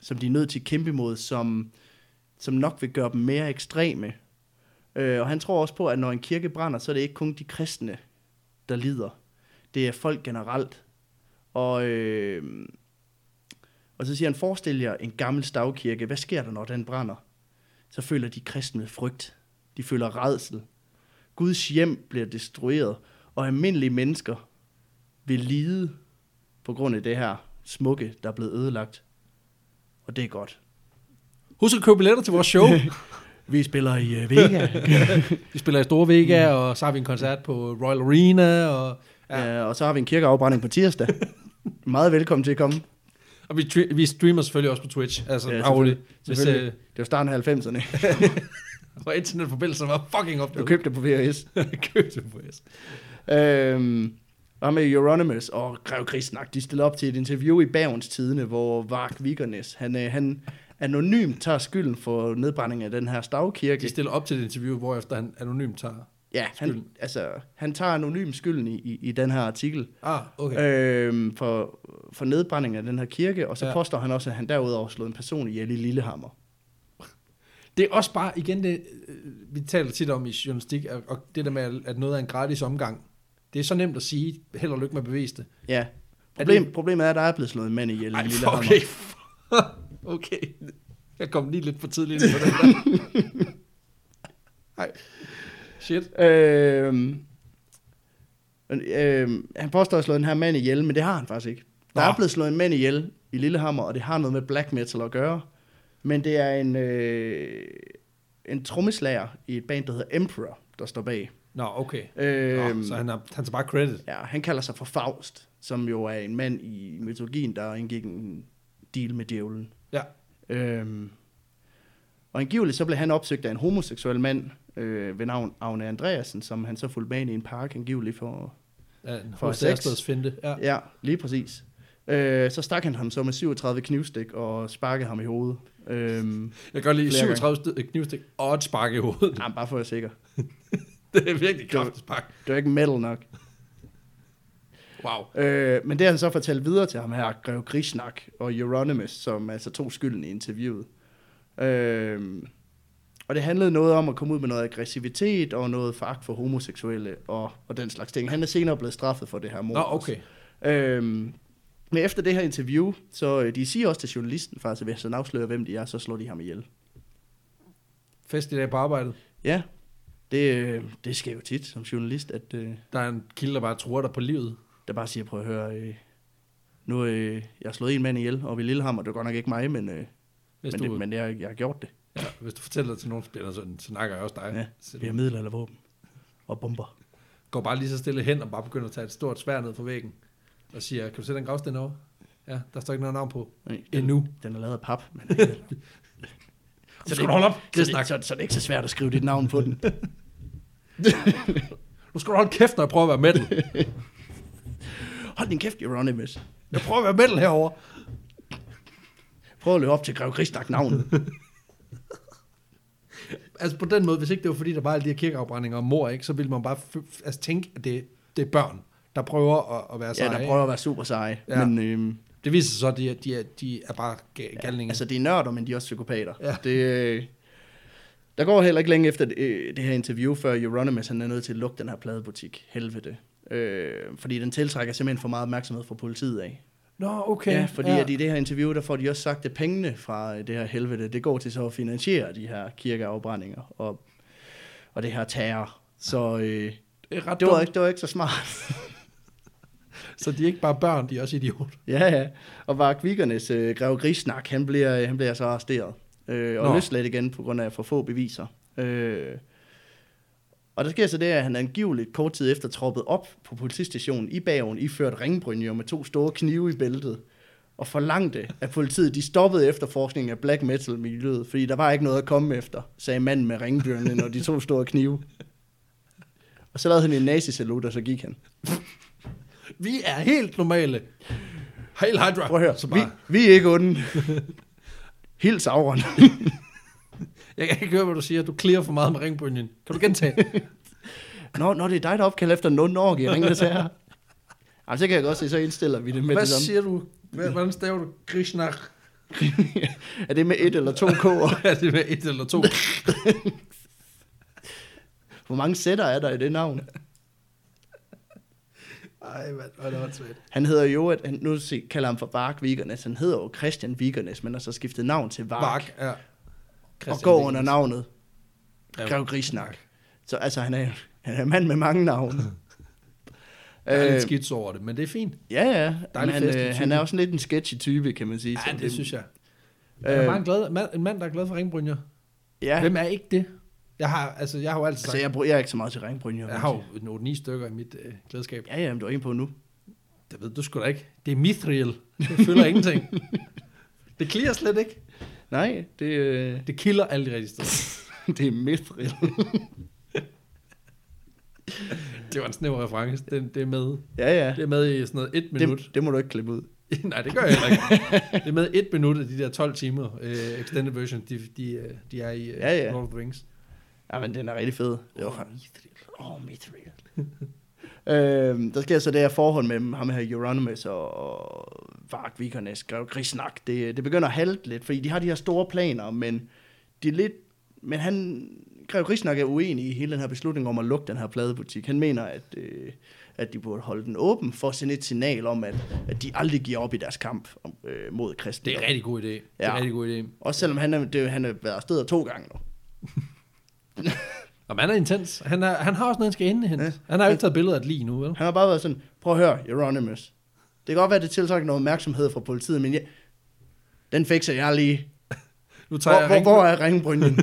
som de er nødt til at kæmpe imod, som, som nok vil gøre dem mere ekstreme. Øh, og han tror også på, at når en kirke brænder, så er det ikke kun de kristne, der lider. Det er folk generelt. Og, øh, og så siger han, forestil jer en gammel stavkirke. Hvad sker der, når den brænder? Så føler de kristne frygt. De føler redsel. Guds hjem bliver destrueret, og almindelige mennesker vil lide på grund af det her smukke, der er blevet ødelagt. Og det er godt. Husk at købe billetter til vores (laughs) show. Vi spiller i uh, Vega. vi spiller i Store Vega, mm. og så har vi en koncert på Royal Arena, og, ja. ja. uh, og så har vi en kirkeafbrænding på tirsdag. Meget velkommen til at komme. og vi, tre- vi streamer selvfølgelig også på Twitch. Altså, Ja, ja, selvfølgelig. dagligt. Hvis, Selvfølgelig. øh, Det var starten af 90'erne. hvor internetforbindelsen var fucking opdaget. Du (laughs) købte det på VHS. købte på S. Øhm, og med Euronymous og Grev Krigsnak, de stiller op til et interview i Bavens Tidene, hvor Vark Vikernes, han, øh, han anonymt tager skylden for nedbrændingen af den her stavkirke. De stiller op til et interview, hvor efter han anonymt tager... ja, han, skylden. altså, han tager anonym skylden i, i, i den her artikel Ah, okay. okay. øhm, for, for nedbrændingen af den her kirke, og så ja. Ja. påstår han også, at han derudover slog en person ihjel i Lillehammer. Det er også bare, igen, det, øh, vi taler tit om i journalistik, og, og det der med, at- at noget er en gratis omgang. Det er så nemt at sige, held og lykke med at bevise det. Ja. Er Problem, er problemet er, at der er blevet slået en mand ihjel i Ej, for, Lillehammer. (laughs) (laughs) okay. okay. Jeg kom lige lidt for tidligt ind på det der. Ej. Shit. Øhm, øhm, han påstår at slå den her mand ihjel, men det har han faktisk ikke. Der Nå. er blevet slået en mand ihjel i Lillehammer, og det har noget med black metal at gøre. Men det er en, øh, en trommeslager i et band, der hedder Emperor, der står bag. Nå, okay. Øhm, Nå, så han har, han tager bare credit. Ja, han kalder sig for Faust, som jo er en mand i mytologien, der indgik en deal med djævlen. Ja. Øhm, og angiveligt så blev han opsøgt af en homoseksuel mand øh, ved navn Agne Andreasen, som han så fulgte med ind i en park angiveligt for... Ja, en For hos sex. Ærsteds finte. Ja. Ja, lige præcis. Øh, så stak han ham så med 37 knivstik og sparkede ham i hovedet. Øhm, Jeg kan godt lide Flere 37 stød, knivstik og et spark i hovedet. ah, bare for at være sikker. (laughs) Det er virkelig kraftigt spark. Det var ikke metal nok. Wow. Øh, men det har han så fortalt videre til ham her, Grev Grishnak og Euronymous, som altså tog skylden i interviewet. Øh, og det handlede noget om at komme ud med noget aggressivitet og noget foragt for homoseksuelle og, og den slags ting. Han er senere blevet straffet for det her mord. Nå, også. okay. Øhm, men efter det her interview, så øh, de siger også til journalisten faktisk, at hvis han afslører, hvem de er, så slår de ham ihjel. Fest i dag på arbejdet. Ja, det, øh, det sker jo tit som journalist, at øh, Der er en kilde, der bare tror dig på livet. der bare siger, prøv at høre, øh, nu øh, jeg har slået en mand ihjel oppe i Lillehammer, det var godt nok ikke mig, men, øh, men, Hvis, men det, du, men... men jeg, jeg har gjort det. Ja, hvis du fortæller det til nogen, så, bliver der sådan, så snakker jeg også dig. Ja, Så Vi har du midler eller våben og bomber. går bare lige så stille hen og bare begynder at tage et stort svær ned fra væggen. Og siger, kan du sætte en gravsten over? Ja, der står ikke noget navn på. Nej, den, Endnu. den er lavet af pap. (laughs) Men, øh, Så skal du holde op. så, Det det, snak. så, så det er ikke så svært at skrive dit navn på den. Nu skal du holde kæft, når jeg prøver at være (laughs) metal. Hold din kæft, Euronymous. Jeg prøver at være metal herover. Prøv at løbe op til Grev (laughs) Kristak navnet. Altså på den måde, hvis ikke det var fordi, der var alle de her kirkeafbrændinger og mor, ikke, så ville man bare f- f- altså, tænke, at det, det er børn, der prøver at, at være ja, seje. der ikke? prøver at være super seje. Altså, Ja. Ja. Men øh, Det viser sig så, at de, er- de, er, de er bare ga- galninge. altså, de er nørder, men de er også psykopater. Ja. Det, øh, der går heller ikke længe efter det, øh, det her interview, før Euronymous han er nødt til at lukke den her pladebutik. Helvede. Øh, fordi den tiltrækker simpelthen for meget opmærksomhed fra politiet af. Nå, okay. Okay, ja, fordi ja. at i det her interview, der får de også sagt, at pengene fra øh, det her helvede, det går til så at finansiere de her kirkeafbrændinger og, og det her terror. Så øh, det er ret det, var dumt. ikke, det var ikke så smart. Så de er ikke bare børn, de er også idioter. ja, ja. Og Varkvikernes øh, grev Grisnak, han bliver, han bliver så arresteret. Øh, og Nå. løsladt igen på grund af for få beviser. Øh, og der sker så det, at han angiveligt kort tid efter troppede op på politistationen i bagen, iført ringbrynjer med to store knive i bæltet, og forlangte, at politiet de stoppede efterforskningen af black metal-miljøet, fordi der var ikke noget at komme efter, sagde manden med ringbrynjen og de to store knive. Og så lavede han en nazisalut, og så gik han. Vi er helt normale. Hail Hydra. Prøv at høre, Så vi, bare, vi er ikke onde. Helt Sauron. Jeg kan ikke høre, hvad du siger. Du klirer for meget med ringbølgen. Kan du (laughs) gentage? Nå, nå, det er dig, der opkalder efter en ond ork, jeg ringer til her. Jamen, så kan jeg godt se, så indstiller vi det med hvad det samme. siger du? Hvad- Hvordan staver du Krishna? (laughs) (laughs) er det med et eller to k'er? Er det med et eller to? Hvor mange sætter er der i det navn? Ej, mand, hvor er det åndssvagt. Han hedder jo, at han, nu se- kalder han for Vark Vikernes. Han hedder jo Christian Vikernes, men har så skiftet navn til Vark. Vark. Ja. og går under navnet Grev. Grev Grisnak. Så altså, han er, han er en mand med mange navne. Der er lidt Øh, skidt over det, men det er fint. Ja, ja. Dejlig Dejlig han, festlig øh, han type. er også lidt en sketchy type, kan man sige. Ja, Så Ligesom det synes jeg. Øh, Jeg er bare en, glad, mand, en mand, der er glad for ringbrynjer. Ja. ja. Hvem er ikke det? Jeg har, altså, jeg har jo altid Altså, sagt, jeg, bruger, jeg er ikke så meget til regnbrynjer. jeg har jo nogle ni stykker i mit øh, glædeskab. Ja, ja, men du er inde på nu. Det ved du sgu da ikke. Det er mithril. Det (laughs) fylder ingenting. Det klirer slet ikke. Nej, det, (laughs) øh, Det kilder alle de rigtige steder. det er mithril. Det var en snæver reference. Det, det, er med. ja, ja. det er med i sådan noget et minut. (laughs) Det, det må du ikke klippe ud. Nej, det gør jeg heller ikke. Det er med et minut af de der 12 timer. Øh, extended version, de, de, øh, de er i øh, Ja, ja. Lord of the Rings. Ja, men den er rigtig fed. Det var Åh, mithril. Åh, oh, mithril. (laughs) øhm, der sker så det her forhold mellem ham her, Euronymous og, og Vark Vikernes, Grev Grisnak. Det, det begynder at halte lidt, fordi de har de her store planer, men de er lidt... Men han, Grev Grisnak er uenig i hele den her beslutning om at lukke den her pladebutik. Han mener, at, øh, at de burde holde den åben for at sende et signal om, at, at de aldrig giver op i deres kamp om, øh, mod Det er kristendom. en rigtig god idé. Det er en Ja. rigtig god idé. Også selvom han er, det, er- han er været afsted to gange nu. Nå, men han er intens. Han, er, han har også noget, han skal indhente. Ja. Han har jo ikke taget billeder af det lige nu, vel? Han har bare været sådan, prøv at høre, Euronymous. Det kan godt være, det tiltrækker noget opmærksomhed fra politiet, men jeg, den fikser jeg lige. Nu tager Hvor, jeg hvor, ring- hvor er (laughs) ringbrynjen?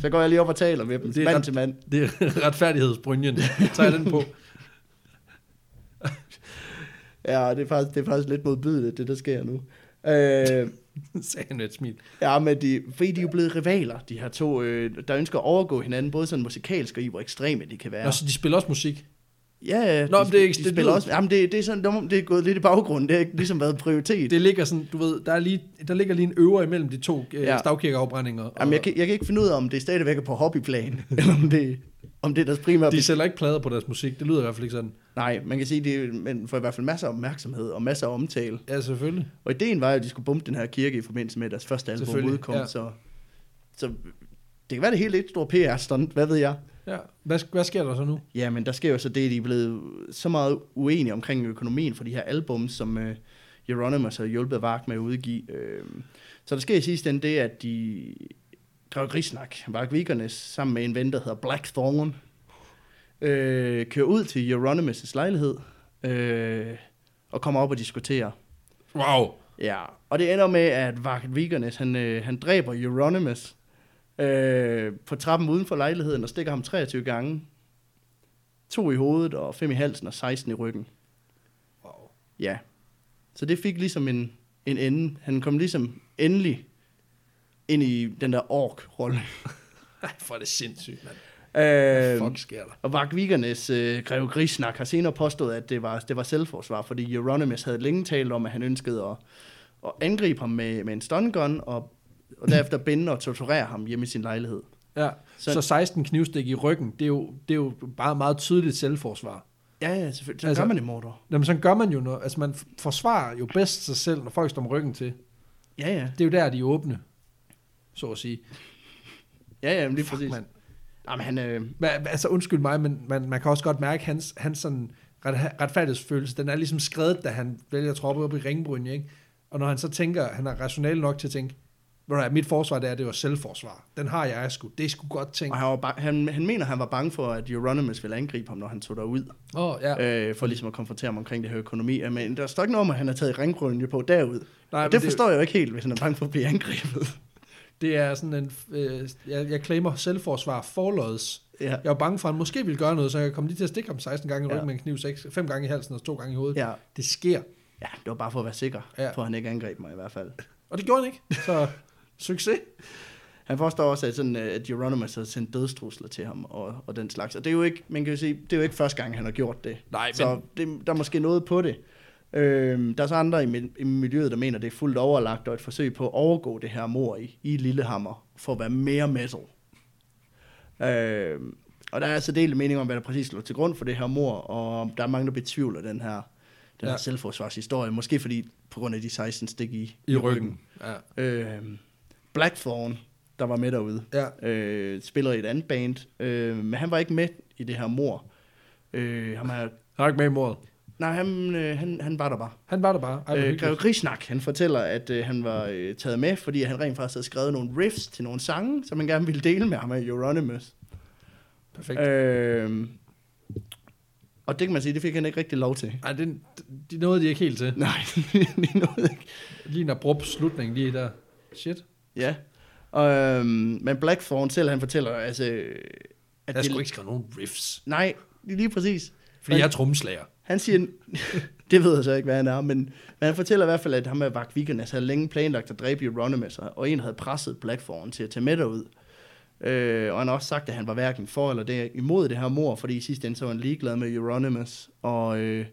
Så går jeg lige op og taler med dem, Det er mand ret- til mand. Det er retfærdighedsbrynjen. Tager jeg den (laughs) på. Ja, det er faktisk, det er faktisk lidt modbydeligt, det der sker nu. Øh, Sagde han med et smil. ja, men de, fordi de er jo blevet rivaler, de her to, øh, der ønsker at overgå hinanden, både sådan musikalsk og i, hvor ekstreme de kan være. Nå, så de spiller også musik. Ja, ja, Nå, de, men det er ikke- de det spiller lyder- også. Jamen, det, det, er sådan, det er- det er gået lidt i baggrunden. Det har ikke ligesom været prioritet. Det, Det ligger sådan, du ved, der, er lige, der ligger lige en øver imellem de to øh, Ja. ja. stavkirkeafbrændinger. og- Jamen, jeg, kan, jeg kan ikke finde ud af, om det stadigvæk er på hobbyplan, (laughs) eller om det, om det er deres primære... De sælger ikke plader på deres musik, det lyder i hvert fald ikke sådan. Nej, man kan sige, det men får i hvert fald masser af opmærksomhed og masser af omtale. Ja, selvfølgelig. Og ideen var jo, at de skulle bombe den her kirke i forbindelse med at deres første album Selvfølgelig, udkom, ja. ja. så, så det kan være det hele et stort PR-stunt, hvad ved jeg. Ja. Hvad, hvad sker der så nu? Ja, men der sker jo så det, at de er blevet så meget uenige omkring økonomien for de her album, som øh, Euronymous har hjulpet Vark med at udgive. Øh. Så der sker i sidste ende det, at de driver grigsnak. Vark Vikernes sammen med en ven, der hedder Black Thorn, øh, kører ud til Euronymous' lejlighed øh, og kommer op og diskuterer. Wow. Ja, og det ender med, at Vark Vikernes, han, øh, han dræber Euronymous øh, på trappen uden for lejligheden og stikker ham 23 gange. To i hovedet og fem i halsen og 16 i ryggen. wow. Ja. Så det fik ligesom en, en ende. Han kom ligesom endelig ind i den der ork-rolle. Ej, Ah, for er det sindssygt, mand. Øh, Fuck sker der? og Vark Vikernes øh, grev Grisnak har senere påstået, at det var, det var selvforsvar, fordi Euronymous havde længe talt om, at han ønskede at, at angribe ham med, med en stungun, og, og derefter binde og torturere ham hjemme i sin lejlighed. Ja. Så- Så, så 16 knivstik i ryggen, det er jo, det er jo bare meget tydeligt selvforsvar. Ja, ja, selvfølgelig. Så altså, Altså- gør man det, Mordor. Jamen, sådan gør man jo noget. Altså, man f- forsvarer jo bedst sig selv, når folk står med ryggen til. Ja, ja. Det er jo der, de er åbne, så at sige. Ja, ja, men lige præcis. Fuck, mand. Jamen, han, øh, Men, altså, undskyld mig, men man, man kan også godt mærke, hans, hans sådan ret, retfærdighedsfølelse, den er ligesom skrevet, da han vælger troppe op i ringbrynje, ikke? Og når han så tænker, han er rationel nok til at tænke, "Ved du hvad, mit forsvar, det er, det var selvforsvar. Den har jeg sgu. Det er sgu godt tænkt. og han, var ba- han, han mener, han var bange for, at Euronymous ville angribe ham, når han tog derud, Åh, oh, ja. ja. øh, for ligesom at konfrontere ham omkring det her økonomi. Ja, Men der står ikke noget om, at han har taget ringgrønne på derud. Nej, Nej, og men det det- forstår jeg jo ikke helt, hvis han er bange for at blive angrebet. Det er sådan en, øh, jeg, jeg claimer selvforsvar forlods. ja. Jeg var bange for, at han måske ville gøre noget, så jeg kom lige til at stikke ham 16 gange i ryggen Ja. ja. med en kniv, 6, 5 gange i halsen og 2 gange i hovedet. ja, Det sker. Ja, det var bare for at være sikker ja. Ja. på, at han ikke angreb mig i hvert fald. Og det gjorde han ikke. Så (laughs) succes. Han forstår også, at, sådan, øh, at Euronymous havde sendt dødstrusler til ham og, og den slags. Og det er jo ikke, man kan jo sige, det er jo ikke første gang, han har gjort det. Nej, men- Så det, der er måske noget på det. Øhm, der er så andre i, mi- i miljøet, der mener, det er fuldt overlagt og et forsøg på at overgå det her mor i, i Lillehammer, for at være mere metal. Øhm, og der er altså delt mening om, hvad der præcis lå til grund for det her mor, og der er mange, der betvivler den her, den her Ja. selvforsvarshistorie. Måske fordi på grund af de 16 stik i, Ja. Øh, Blackthorn, der var med derude, ja. øh, spiller i et andet band, øh, men han var ikke med i det her mor. Øh, han er, Han var ikke med i mordet. nej, han, øh, han, han var der bare. Han var der bare. Ej, Øh, øh, Greve Grisnak, han fortæller, at øh, han var øh, taget med, fordi han rent faktisk havde skrevet nogle riffs til nogle sange, som han gerne ville dele med ham af Euronymous. Perfekt. Øh. Øh, og det kan man sige, det fik han ikke rigtig lov til. (laughs) Ej, den, de nåede de ikke helt til. Nej, (laughs) lige noget ikke. Lige en abrupt slutning lige der. Shit. Ja. Øhm, men Blackthorn selv, han fortæller, altså... At Jeg det- skulle ikke skrive nogen riffs. Nej, lige præcis. Fordi jeg er tromslager. Han siger, (laughs) det ved jeg så ikke, hvad han er, men, men han fortæller i hvert fald, at ham med Vagt Vikernes havde længe planlagt at dræbe Euronymous, og og en havde presset Blackthorn til at tage med derud. Øh, og han har også sagt, at han var hverken for eller det, imod det her mor, fordi i sidste ende så var han ligeglad med Euronymous, og øh,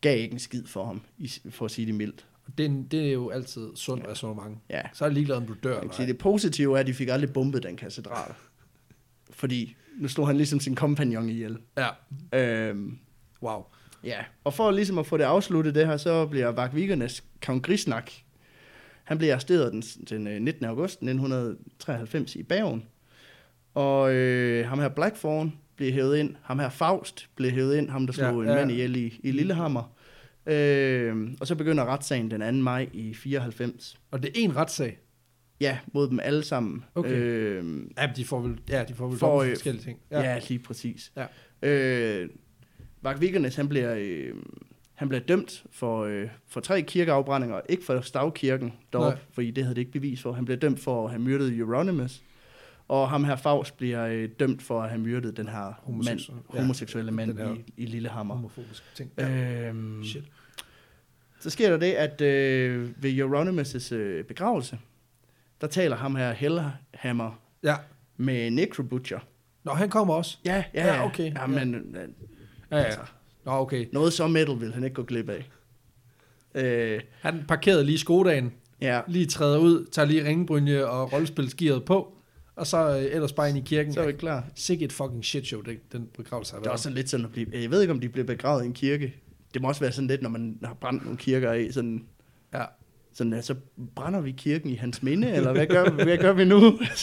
gav ikke en skid for ham, i, for at sige det mildt. Det, er en- det er jo altid sundt ja. resonemang. Ja. Så er det ligeglad, om du dør Man eller kan sige, ej. det positive er, at de fik aldrig bumpet den katedral. Fordi nu slog han ligesom sin kompagnon ihjel. Ja. Øh, Wow. Ja, og for ligesom at få det afsluttet det her, så bliver Vak Vikernes Kong Grisnak, han bliver arresteret den, den øh, 19. august 1993 i Bergen. Og øh, ham her Blackthorn bliver hævet ind, ham her Faust bliver hævet ind, ham der slog Ja, en ja. mand ihjel i, i Lillehammer. Øh, og så begynder retssagen den 2. maj i 94. Og det er en retssag. Ja, mod dem alle sammen. Okay. Øh, Ja, de får vel, ja, de får vel Får, for, øh, forskellige ting. ja. ja, lige præcis. Ja. Øh, Mark Vikernes, han bliver, øh, han bliver dømt for, øh, for tre kirkeafbrændinger, ikke for stavkirken dog, Nej. fordi det havde det ikke bevis for. Han bliver dømt for at have myrdet Euronymous, og ham her Faust bliver øh, dømt for at have myrdet den her Homoseksuel. mand, Ja. homoseksuelle mand Den her- i, i Lillehammer. homofobiske ting. Ja. Øhm, Shit. så sker der det, at øh, ved Euronymous' øh, begravelse, der taler ham her Hellhammer Ja. med Necrobutcher. Nå, han kommer også. Ja, ja, Ja, okay. Ja, men, øh, Ja, ja. Altså. Nå, okay. Noget så metal vil han ikke gå glip af. Øh, Han parkerede lige Skodaen, ja, lige træder ud, tager lige ringbrynje og rollespilsgearet på, og så øh, ellers bare ind i kirken. så er vi klar. Sikke et fucking shit show, den, den begravelse har Det er været. også sådan lidt sådan at blive... Jeg ved ikke, om de bliver begravet i en kirke. Det må også være sådan lidt, når man har brændt nogle kirker af, sådan... Ja. Sådan, ja, så brænder vi kirken i hans minde, eller hvad gør, (laughs) hvad gør vi nu? (laughs)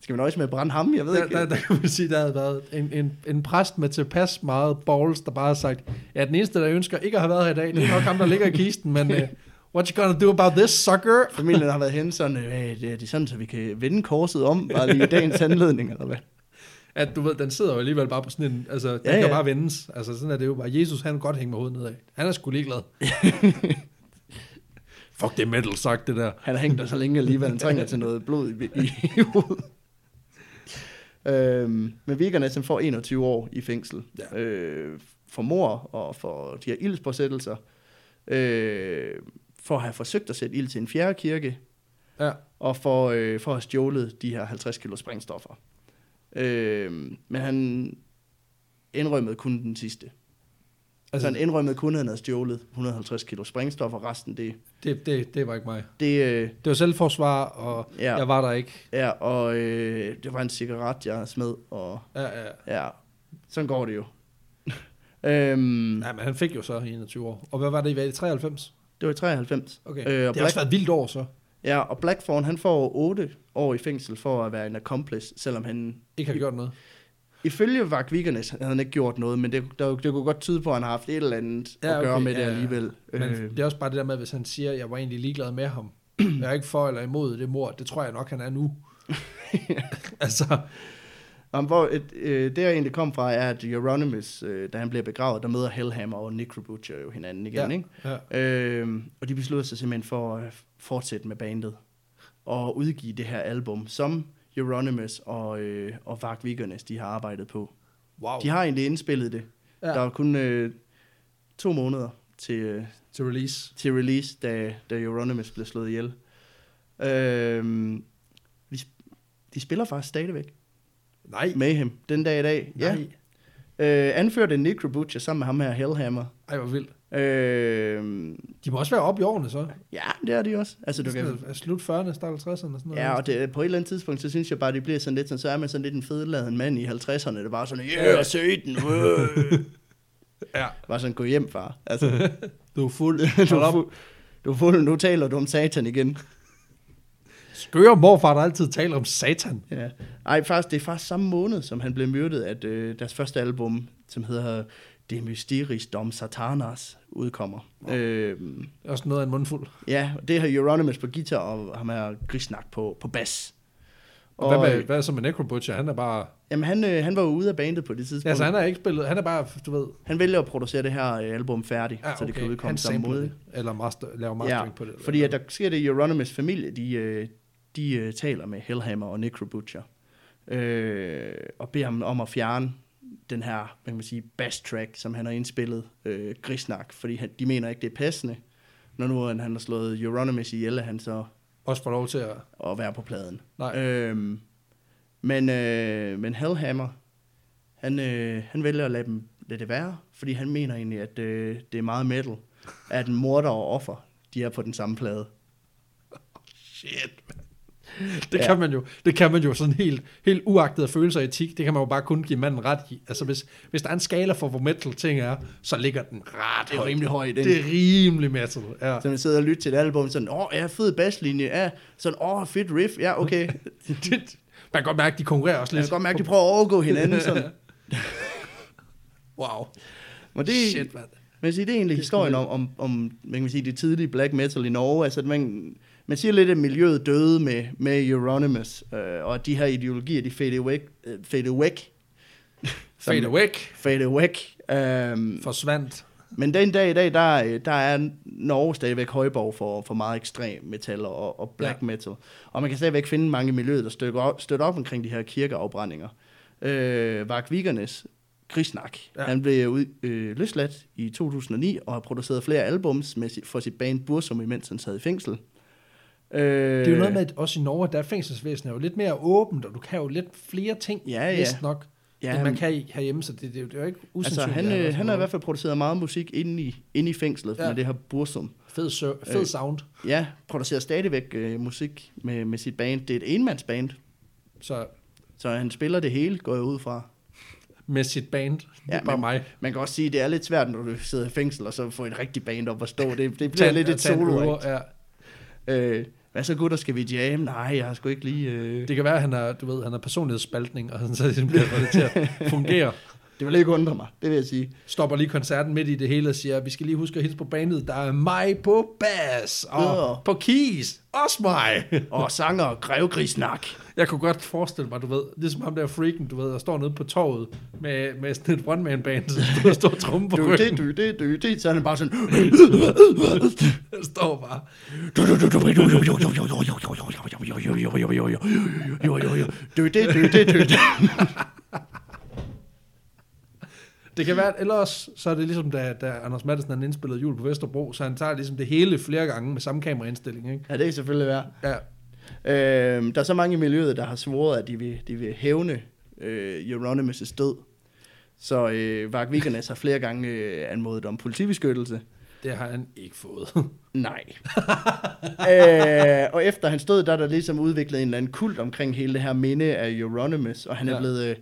Skal vi nøjes med at brænde ham? Jeg ved Der, ikke. der, der kan man sige, der havde været en, en, en præst med tilpas meget balls, der bare har sagt, ja, den eneste, der ønsker ikke at have været her i dag, det er nok ham, der ligger i kisten, men uh, what you gonna do about this, sucker? Familien har været henne sådan, øh, "Hey, det er det sådan, så vi kan vende korset om, bare lige i dagens anledning, eller hvad? At du ved, den sidder jo alligevel bare på sådan en, altså, den Ja, ja, kan ja. bare vendes. Altså, sådan er det jo bare. Jesus, han kan godt hænge med hovedet nedad. Han er sgu (laughs) ligeglad. Fuck, det er metal sagt, det der. Han har hængt der så længe alligevel, han trænger til noget blod i, i, i hovedet. Øhm, men Vikernes han får 21 år i fængsel Ja. øh, for mor og for de her ildspåsættelser. Øh, for at have forsøgt at sætte ild til en fjerde kirke Ja, og for, øh, for at have stjålet de her 50 kilo sprængstoffer. Øh, men han indrømmede kun den sidste. Altså han indrømmede kun, at han havde stjålet 150 kilo sprængstoffer, resten det... det, det, det var ikke mig. det øh, Det var selvforsvar, og ja. ja. jeg var der ikke. Ja, og øh, det var en cigaret, jeg smed, og Ja, ja. ja, sådan går det jo. (laughs) øhm, Nej, men han fik jo så 21 år. Og hvad var det, I var i 93? det var i 93. Okay. Øh, Øh, og det har også været et vildt år så. Ja, og Blackthorn, han får 8 år i fængsel for at være en accomplice, selvom han, Ikke har gjort noget. ifølge Vark Vikernes, havde han ikke gjort noget, men det, der, det kunne godt tyde på, at han har haft et eller andet ja, Ja, at gøre okay, med ja, det ja. alligevel. Men Øh, det er også bare det der med, hvis han siger, at jeg var egentlig ligeglad med ham. Jeg er ikke for eller imod det mor. Det tror jeg nok, han (laughs) er nu. altså, Om, hvor et, øh, det, jeg egentlig kom fra, er, at Euronymous, øh, da han bliver begravet, der møder Hellhammer og Necrobutcher jo hinanden igen, Ja. ikke? ja. Øh, og de beslutter sig simpelthen for at fortsætte med bandet og udgive det her album, som Euronymous og, øh, og Varg Vikernes, de har arbejdet på. wow. De har egentlig indspillet det. Ja. Ja. Der var kun øh, to måneder til, øh, Til release. til release, da, da Euronymous blev slået ihjel. Øh, vi, sp- de spiller faktisk stadigvæk. Nej. Mayhem, den dag i dag. Ja. Ja. Øh, anført en Necro Butcher sammen med ham her, Hellhammer. Ej, hvor vildt. Øh, De må også være oppe i årene så. ja, det er de også. Altså, du kan, Okay. Slut 40'erne, start 50'erne og sådan noget. Ja, og det, på et eller andet tidspunkt, så synes jeg bare, det bliver sådan lidt sådan, så er man sådan lidt en fedladen mand i 50'erne, det er bare sådan, yeah, søg den, (laughs) øh." ja. Bare sådan, gå hjem, far. (laughs) Altså, (laughs) Du er fuld. du, Hold er op. fu- du er fuld, nu taler du om satan igen. Skøre morfar, der altid taler om satan. Ja. Ej, faktisk, det er faktisk samme måned, som han blev myrdet, at øh, deres første album, som hedder Det Mysteris Dom Satanas, udkommer. Wow. Øh, Det er Også noget af en mundfuld. ja, og det har Euronymous på guitar, og ham her Grisnak på, på bas. Og, og hvad, med, hvad så med Necrobutcher? Han er bare... Jamen, han, øh, han var jo ude af bandet på det tidspunkt. Altså, han har ikke spillet... Han er bare, du ved... Han vælger at producere det her øh, album færdigt, Ja, så det kan udkomme Ah, han samme sampler måde. det, Eller master, laver Ja, mastering ja, på det. fordi at der sker det, at Euronymous familie, de, øh, de øh, taler med Hellhammer og Necrobutcher, øh, og beder ham om at fjerne den her, hvad kan man sige, bass track, som han har indspillet, øh, Grisnak, fordi han, de mener ikke, det er passende, når nu han, han har slået Euronymous ihjel, at han så Også får lov til at... at være på pladen. Nej. Øhm, men, øh, men Hellhammer, han, øh, han vælger at lade, dem, lade det være, fordi han mener egentlig, at øh, det er meget metal, at en morder og offer, de er på den samme plade. Shit, man. Det, Ja. ja. kan man jo, det kan man jo sådan helt, helt uagtet af følelser og etik, det kan man jo bare kun give manden ret i. Altså hvis, hvis der er en skala for, hvor metal ting er, så ligger den ret Det er højt. rimelig højt, ikke? Det er rimelig metal, ja. Så man sidder og lytter til et album, sådan, åh, ja, fed basslinje, ja, sådan, åh, fedt riff, ja, (laughs) okay. Det- man kan godt mærke, de konkurrerer også Jeg kan lidt. godt mærke, de prøver at overgå (laughs) hinanden, sådan. Wow. Men det, Shit, mand. Men sige, det er egentlig historien om, om, om man kan sige, det tidlige black metal i Norge. Altså, man, man siger lidt, at miljøet døde med, med Euronymous, øh, og at de her ideologier, de fade away, øh, fade away, som- Fade away. fade away. Øhm, Forsvandt. Men men den dag i dag, der, øh, der er Norge stadigvæk højborg for, for meget ekstrem metal og, og black Ja. ja. metal. Og man kan stadigvæk finde mange i miljøet, der støtter op, støtter op omkring de her kirkeafbrændinger. Øh, Vark Vigernes, Krisnak, Ja. ja. han blev ud, øh, løsladt i 2009 og har produceret flere albums med, sit- for sit band Bursum, imens han sad i fængsel. Øh, det er jo noget med, at også i Norge, der er fængselsvæsenet jo lidt mere åbent, og du kan jo lidt flere ting, Ja, ja. vist nok, ja, Ja, end man men- kan i- herhjemme, så det, det, er jo- det er jo ikke Altså, usandsynligt. han, at der øh, sådan han har i noget. hvert fald produceret meget musik inde i, inde i fængslet Ja. ja. med det her Bursum. Fed, sø- fed Øh, sound. Ja, producerer stadigvæk øh, musik med, med sit band. Det er et enmandsband, Så Så han spiller det hele, går jeg ud fra. med sit band, det er Ja, bare men- mig. Man kan også sige, at det er lidt svært, når du sidder i fængsel, og så får et rigtigt band op at stå. Det, det Tag bliver en- lidt et tag en øver, solo ja. øh, Hvad så, gutter, skal vi jamme? Nej, jeg har sgu ikke lige... Øh... Det, Det kan være, at han har, du ved, han har personlighedsspaltning, og han så ligesom bliver fået det til (laughs) at fungere. det vil ikke undre mig, det vil jeg sige. Stopper lige koncerten midt i det hele og siger, vi skal lige huske at hilse på bandet. Der er mig på bass, og Ja. på keys, også mig. Og sanger og grevgrisnak. Jeg kunne godt forestille mig, du ved, ligesom ham der freaken, du ved, der står nede på torvet med, med sådan et one-man-band, så der står tromme på Du, det, ryggen. du, det, du, det. Så er han bare sådan... (gasps) Han står bare. Du, det, du, det, du, det. Det kan være, at ellers så er det ligesom, da, da Anders Madsen han indspillede jul på Vesterbro, så han tager ligesom det hele flere gange med samme kameraindstilling, ikke? Ja, det er selvfølgelig værd. Ja, Øh, der er så mange i miljøet, der har svoret, at de vil, de vil hævne øh, Euronymous' død. Så øh, Vark Vikernes har flere gange øh, anmodet om politibeskyttelse. det har han ikke fået. Nej. øh, og efter han stod, der er der ligesom udviklet en eller anden kult omkring hele det her minde af Euronymous, og han ja. Ja. er blevet øh,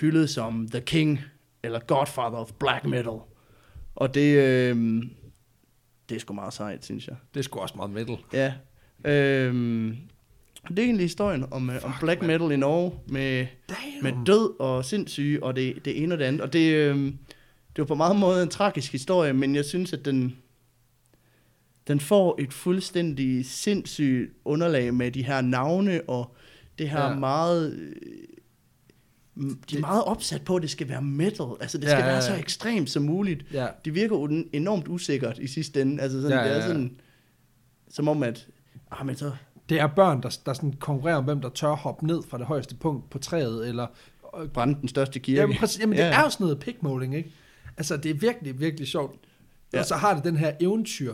hyldet som The King, eller Godfather of Black Metal. Og det, øh, det er sgu meget sejt, synes jeg. det er sgu også meget metal. Ja. Øhm, det er egentlig historien om, øh, om black man. metal i Norge med, Damn. med død og sindssyge og det, det ene og det andet. Og det, øhm, det var på mange måder en tragisk historie, men jeg synes, at den, den får et fuldstændig sindssygt underlag med de her navne og det her Ja. ja. meget... øh, m- De Det- er meget opsat på, at det skal være metal. Altså, det Ja, skal ja, være ja. så ekstremt som muligt. Ja. Det virker jo den- enormt usikkert i sidste ende. Altså, sådan, Ja, ja, ja, ja, ja. det ja. er sådan, som om at, ah, men så, Det er børn, der, der sådan konkurrerer om, hvem der tør hoppe ned fra det højeste punkt på træet, eller... brænde den største kirke. Jamen, præcis, jamen det Ja. er jo sådan noget pigmåling, ikke? Altså, det er virkelig, virkelig sjovt. Ja. Ja. Og så har det den her eventyr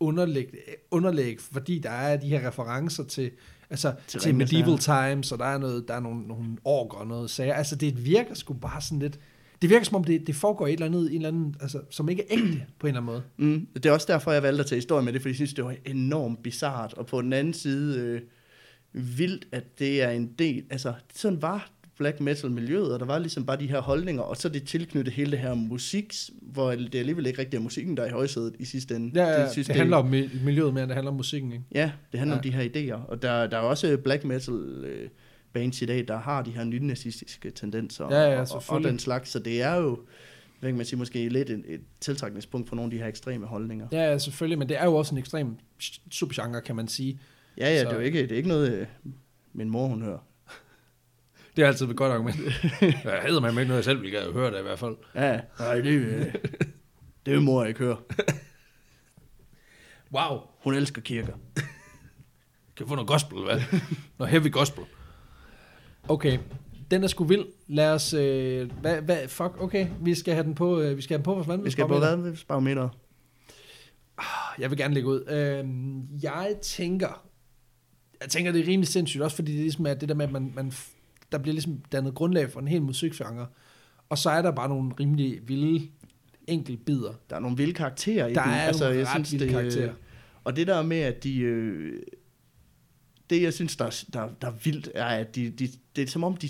underlæg, underlæg, fordi der er de her referencer til, altså, til, til Ringenes medieval times, og der er, noget, der er nogle, nogle orker og noget sager. Altså, det virker sgu bare sådan lidt... Det virker som om, det, det foregår i et eller andet, i en eller anden altså, som ikke er ægte på en eller anden måde. Mm, det er også derfor, jeg valgte at tage historie med det, fordi jeg synes, det var enormt bizart. Og på den anden side, øh, vildt, at det er en del. Altså, sådan var black metal-miljøet, og der var ligesom bare de her holdninger, og så er det tilknyttet hele det her musik, hvor det alligevel ikke rigtig er musikken, der er i højsædet i sidste ende. Ja, ja, det, synes, det handler om mi- miljøet mere, end det handler om musikken, ikke? Ja, det handler ja. om Ja. de her idéer. Og der, der er også black metal øh, bands i dag, der har de her nynazistiske tendenser Ja, ja, og- og, og selvfølgelig. den slags. Så det er jo, hvad kan man sige, måske lidt et, et tiltrækningspunkt for nogle af de her ekstreme holdninger. Ja, ja, selvfølgelig, men det er jo også en ekstrem subgenre, kan man sige. Ja, ja, Så- det er jo ikke, det er ikke noget, øh, min mor hun hører. Det er altid et godt argument. (laughs) Jeg hader mig med noget, jeg selv ville gerne høre det i hvert fald. Ja, ja. nej, det, øh, (laughs) det er jo mor, jeg ikke hører. Wow, Hun elsker kirker. kan få noget gospel, (laughs) hvad? noget heavy gospel. Okay, den er sgu vild. Lad os, øh, hvad, hvad, fuck, okay, vi skal have den på, øh, vi skal have den på vores vandværk. Vi skal på hvad? Barometeret. Ah, Jeg vil gerne lægge ud. Øh, jeg tænker, jeg tænker, det er rimelig sindssygt, også fordi det ligesom er det der med, at man, man, f- der bliver ligesom dannet grundlag for en hel musikgenre, og så er der bare nogle rimelig vilde enkeltbider. Der er nogle vilde karakterer i Der den. er nogle ret vilde øh, karakterer. Og det der med, at de... Øh, det, jeg synes, der, er- der, der er vildt, er, at de, de, det er som om, de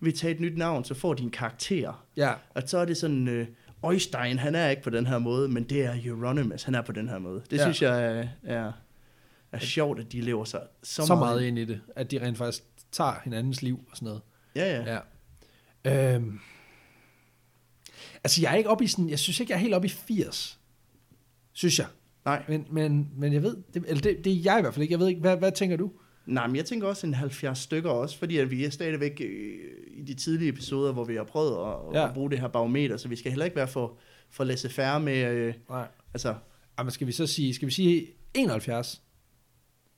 vil tage et nyt navn, så får de en karakter. Ja, Og så er det sådan, øh, Øjstein, han er ikke på den her måde, men det er Euronymous, han er på den her måde. Ja. Det ja. synes jeg er, er, er sjovt, at de lever sig så, så, så meget ind i det, at de rent faktisk tager hinandens liv og sådan noget. Ja, ja. Ja. Øhm. Altså, jeg er ikke oppe i sådan... Jeg synes ikke, jeg er helt oppe i 80. Synes jeg. Nej. Men, men, men jeg ved, det, eller det, det er jeg i hvert fald ikke. Jeg ved ikke, hvad, hvad tænker du? Nej, men jeg tænker også en 70 stykker også, fordi at vi er stadigvæk øh, i de tidlige episoder, hvor vi har prøvet at, ja. Ja. at bruge det her barometer, så vi skal heller ikke være for, for laissez-faire med, øh, Nej. altså, Jamen, skal vi så sige, skal vi sige 71?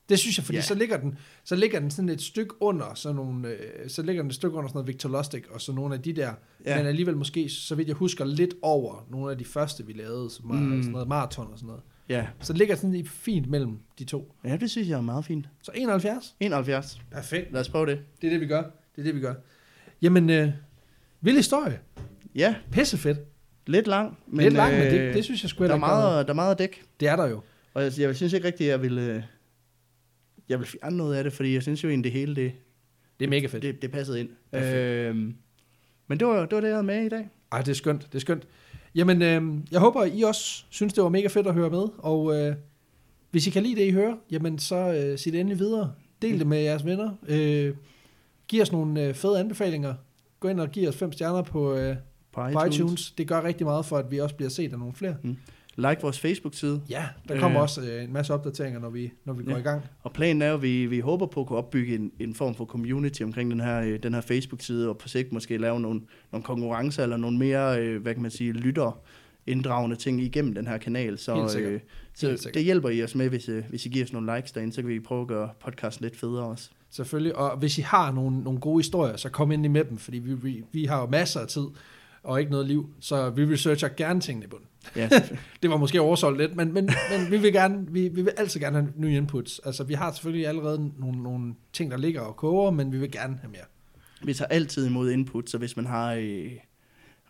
Det synes jeg, fordi Ja. ja. så, ligger den, så ligger den sådan et stykke under sådan nogle, øh, så ligger den et stykke under sådan noget Victor Lustig og så nogle af de der, Ja. ja. men øh, alligevel måske, så vidt jeg husker, lidt over nogle af de første, vi lavede, som var Mm. mm. sådan noget maraton og sådan noget. ja. Så det ligger sådan i fint mellem de to. Ja, det synes jeg er meget fint. Så 71? 71. Perfekt. Lad os prøve det. Det er det, vi gør. Det er det, vi gør. Jamen, øh, vild historie. Ja, Pissefedt. lidt lang. Men, øh, Lidt langt, men det, det synes jeg sgu der heller er, ikke var noget. meget, der er meget at dække. Det er der jo. Og jeg, jeg synes ikke rigtigt, jeg vil, øh, jeg vil fjerne noget af det, fordi jeg synes jo egentlig, det hele det, Det er mega fedt. det, det passede ind. Perfekt. Øhm, men det var, det var det, jeg havde med i dag. Ej, det er skønt, det er skønt. Jamen, øh, jeg håber, I også synes, det var mega fedt at høre med, og øh, hvis I kan lide det, I hører, jamen så øh, sig det endelig videre. Del det med jeres venner. Øh, giv os nogle øh, fede anbefalinger. Gå ind og giv os fem stjerner på, øh, På på iTunes. Det gør rigtig meget for, at vi også bliver set af nogle flere. Like vores Facebook-side. Ja, der kommer Øh. øh. også øh, en masse opdateringer, når vi, når vi går Ja. i gang. Og planen er jo, at vi, vi håber på at kunne opbygge en, en form for community omkring den her, øh, den her Facebook-side, og på sigt måske lave nogle, nogle konkurrencer eller nogle mere, øh, hvad kan man sige, lytter inddragende ting igennem den her kanal. Så, Helt sikkert. øh, så Helt sikkert. det hjælper I os med, hvis, øh, hvis I giver os nogle likes derinde, så kan vi prøve at gøre podcasten lidt federe også. Selvfølgelig, og hvis I har nogle, nogle gode historier, så kom ind med dem, fordi vi, vi, vi har jo masser af tid og ikke noget liv, så vi researcher gerne tingene i bunden. (laughs) Ja, Det var måske oversolgt lidt, men, (laughs) men, men vi, vil gerne, vi, vi vil altid gerne have nye inputs. Altså, vi har selvfølgelig allerede nogle, nogle ting, der ligger og koger, men vi vil gerne have mere. vi tager altid imod input, så hvis man har øh,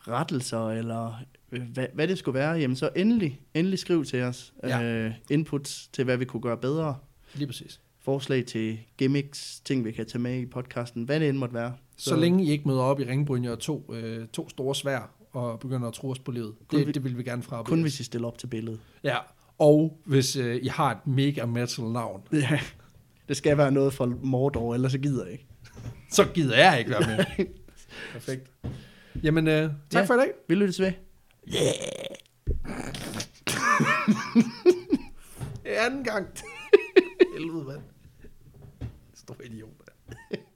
rettelser eller øh, hvad, hvad det skulle være, jamen så endelig, endelig skriv til os Ja. øh, inputs til, hvad vi kunne gøre bedre. Lige præcis. forslag til gimmicks, ting vi kan tage med i podcasten, hvad det end måtte være. Så, så længe I ikke møder op i ringbrynje og to, øh, to store svær og begynder at tro os på livet. Kun vi- Det, det vil vi gerne fra. Kun hvis I stiller op til billedet. Ja, og hvis øh, I har et mega metal navn, Ja. Det skal være noget fra Mordor, ellers så gider jeg ikke. så gider jeg ikke være med. Perfekt. Jamen, øh, tak Ja. ja. for i dag. Vi lyttes ved. (laughs) Anden gang. Helvede, mand. Stor idiot. mand.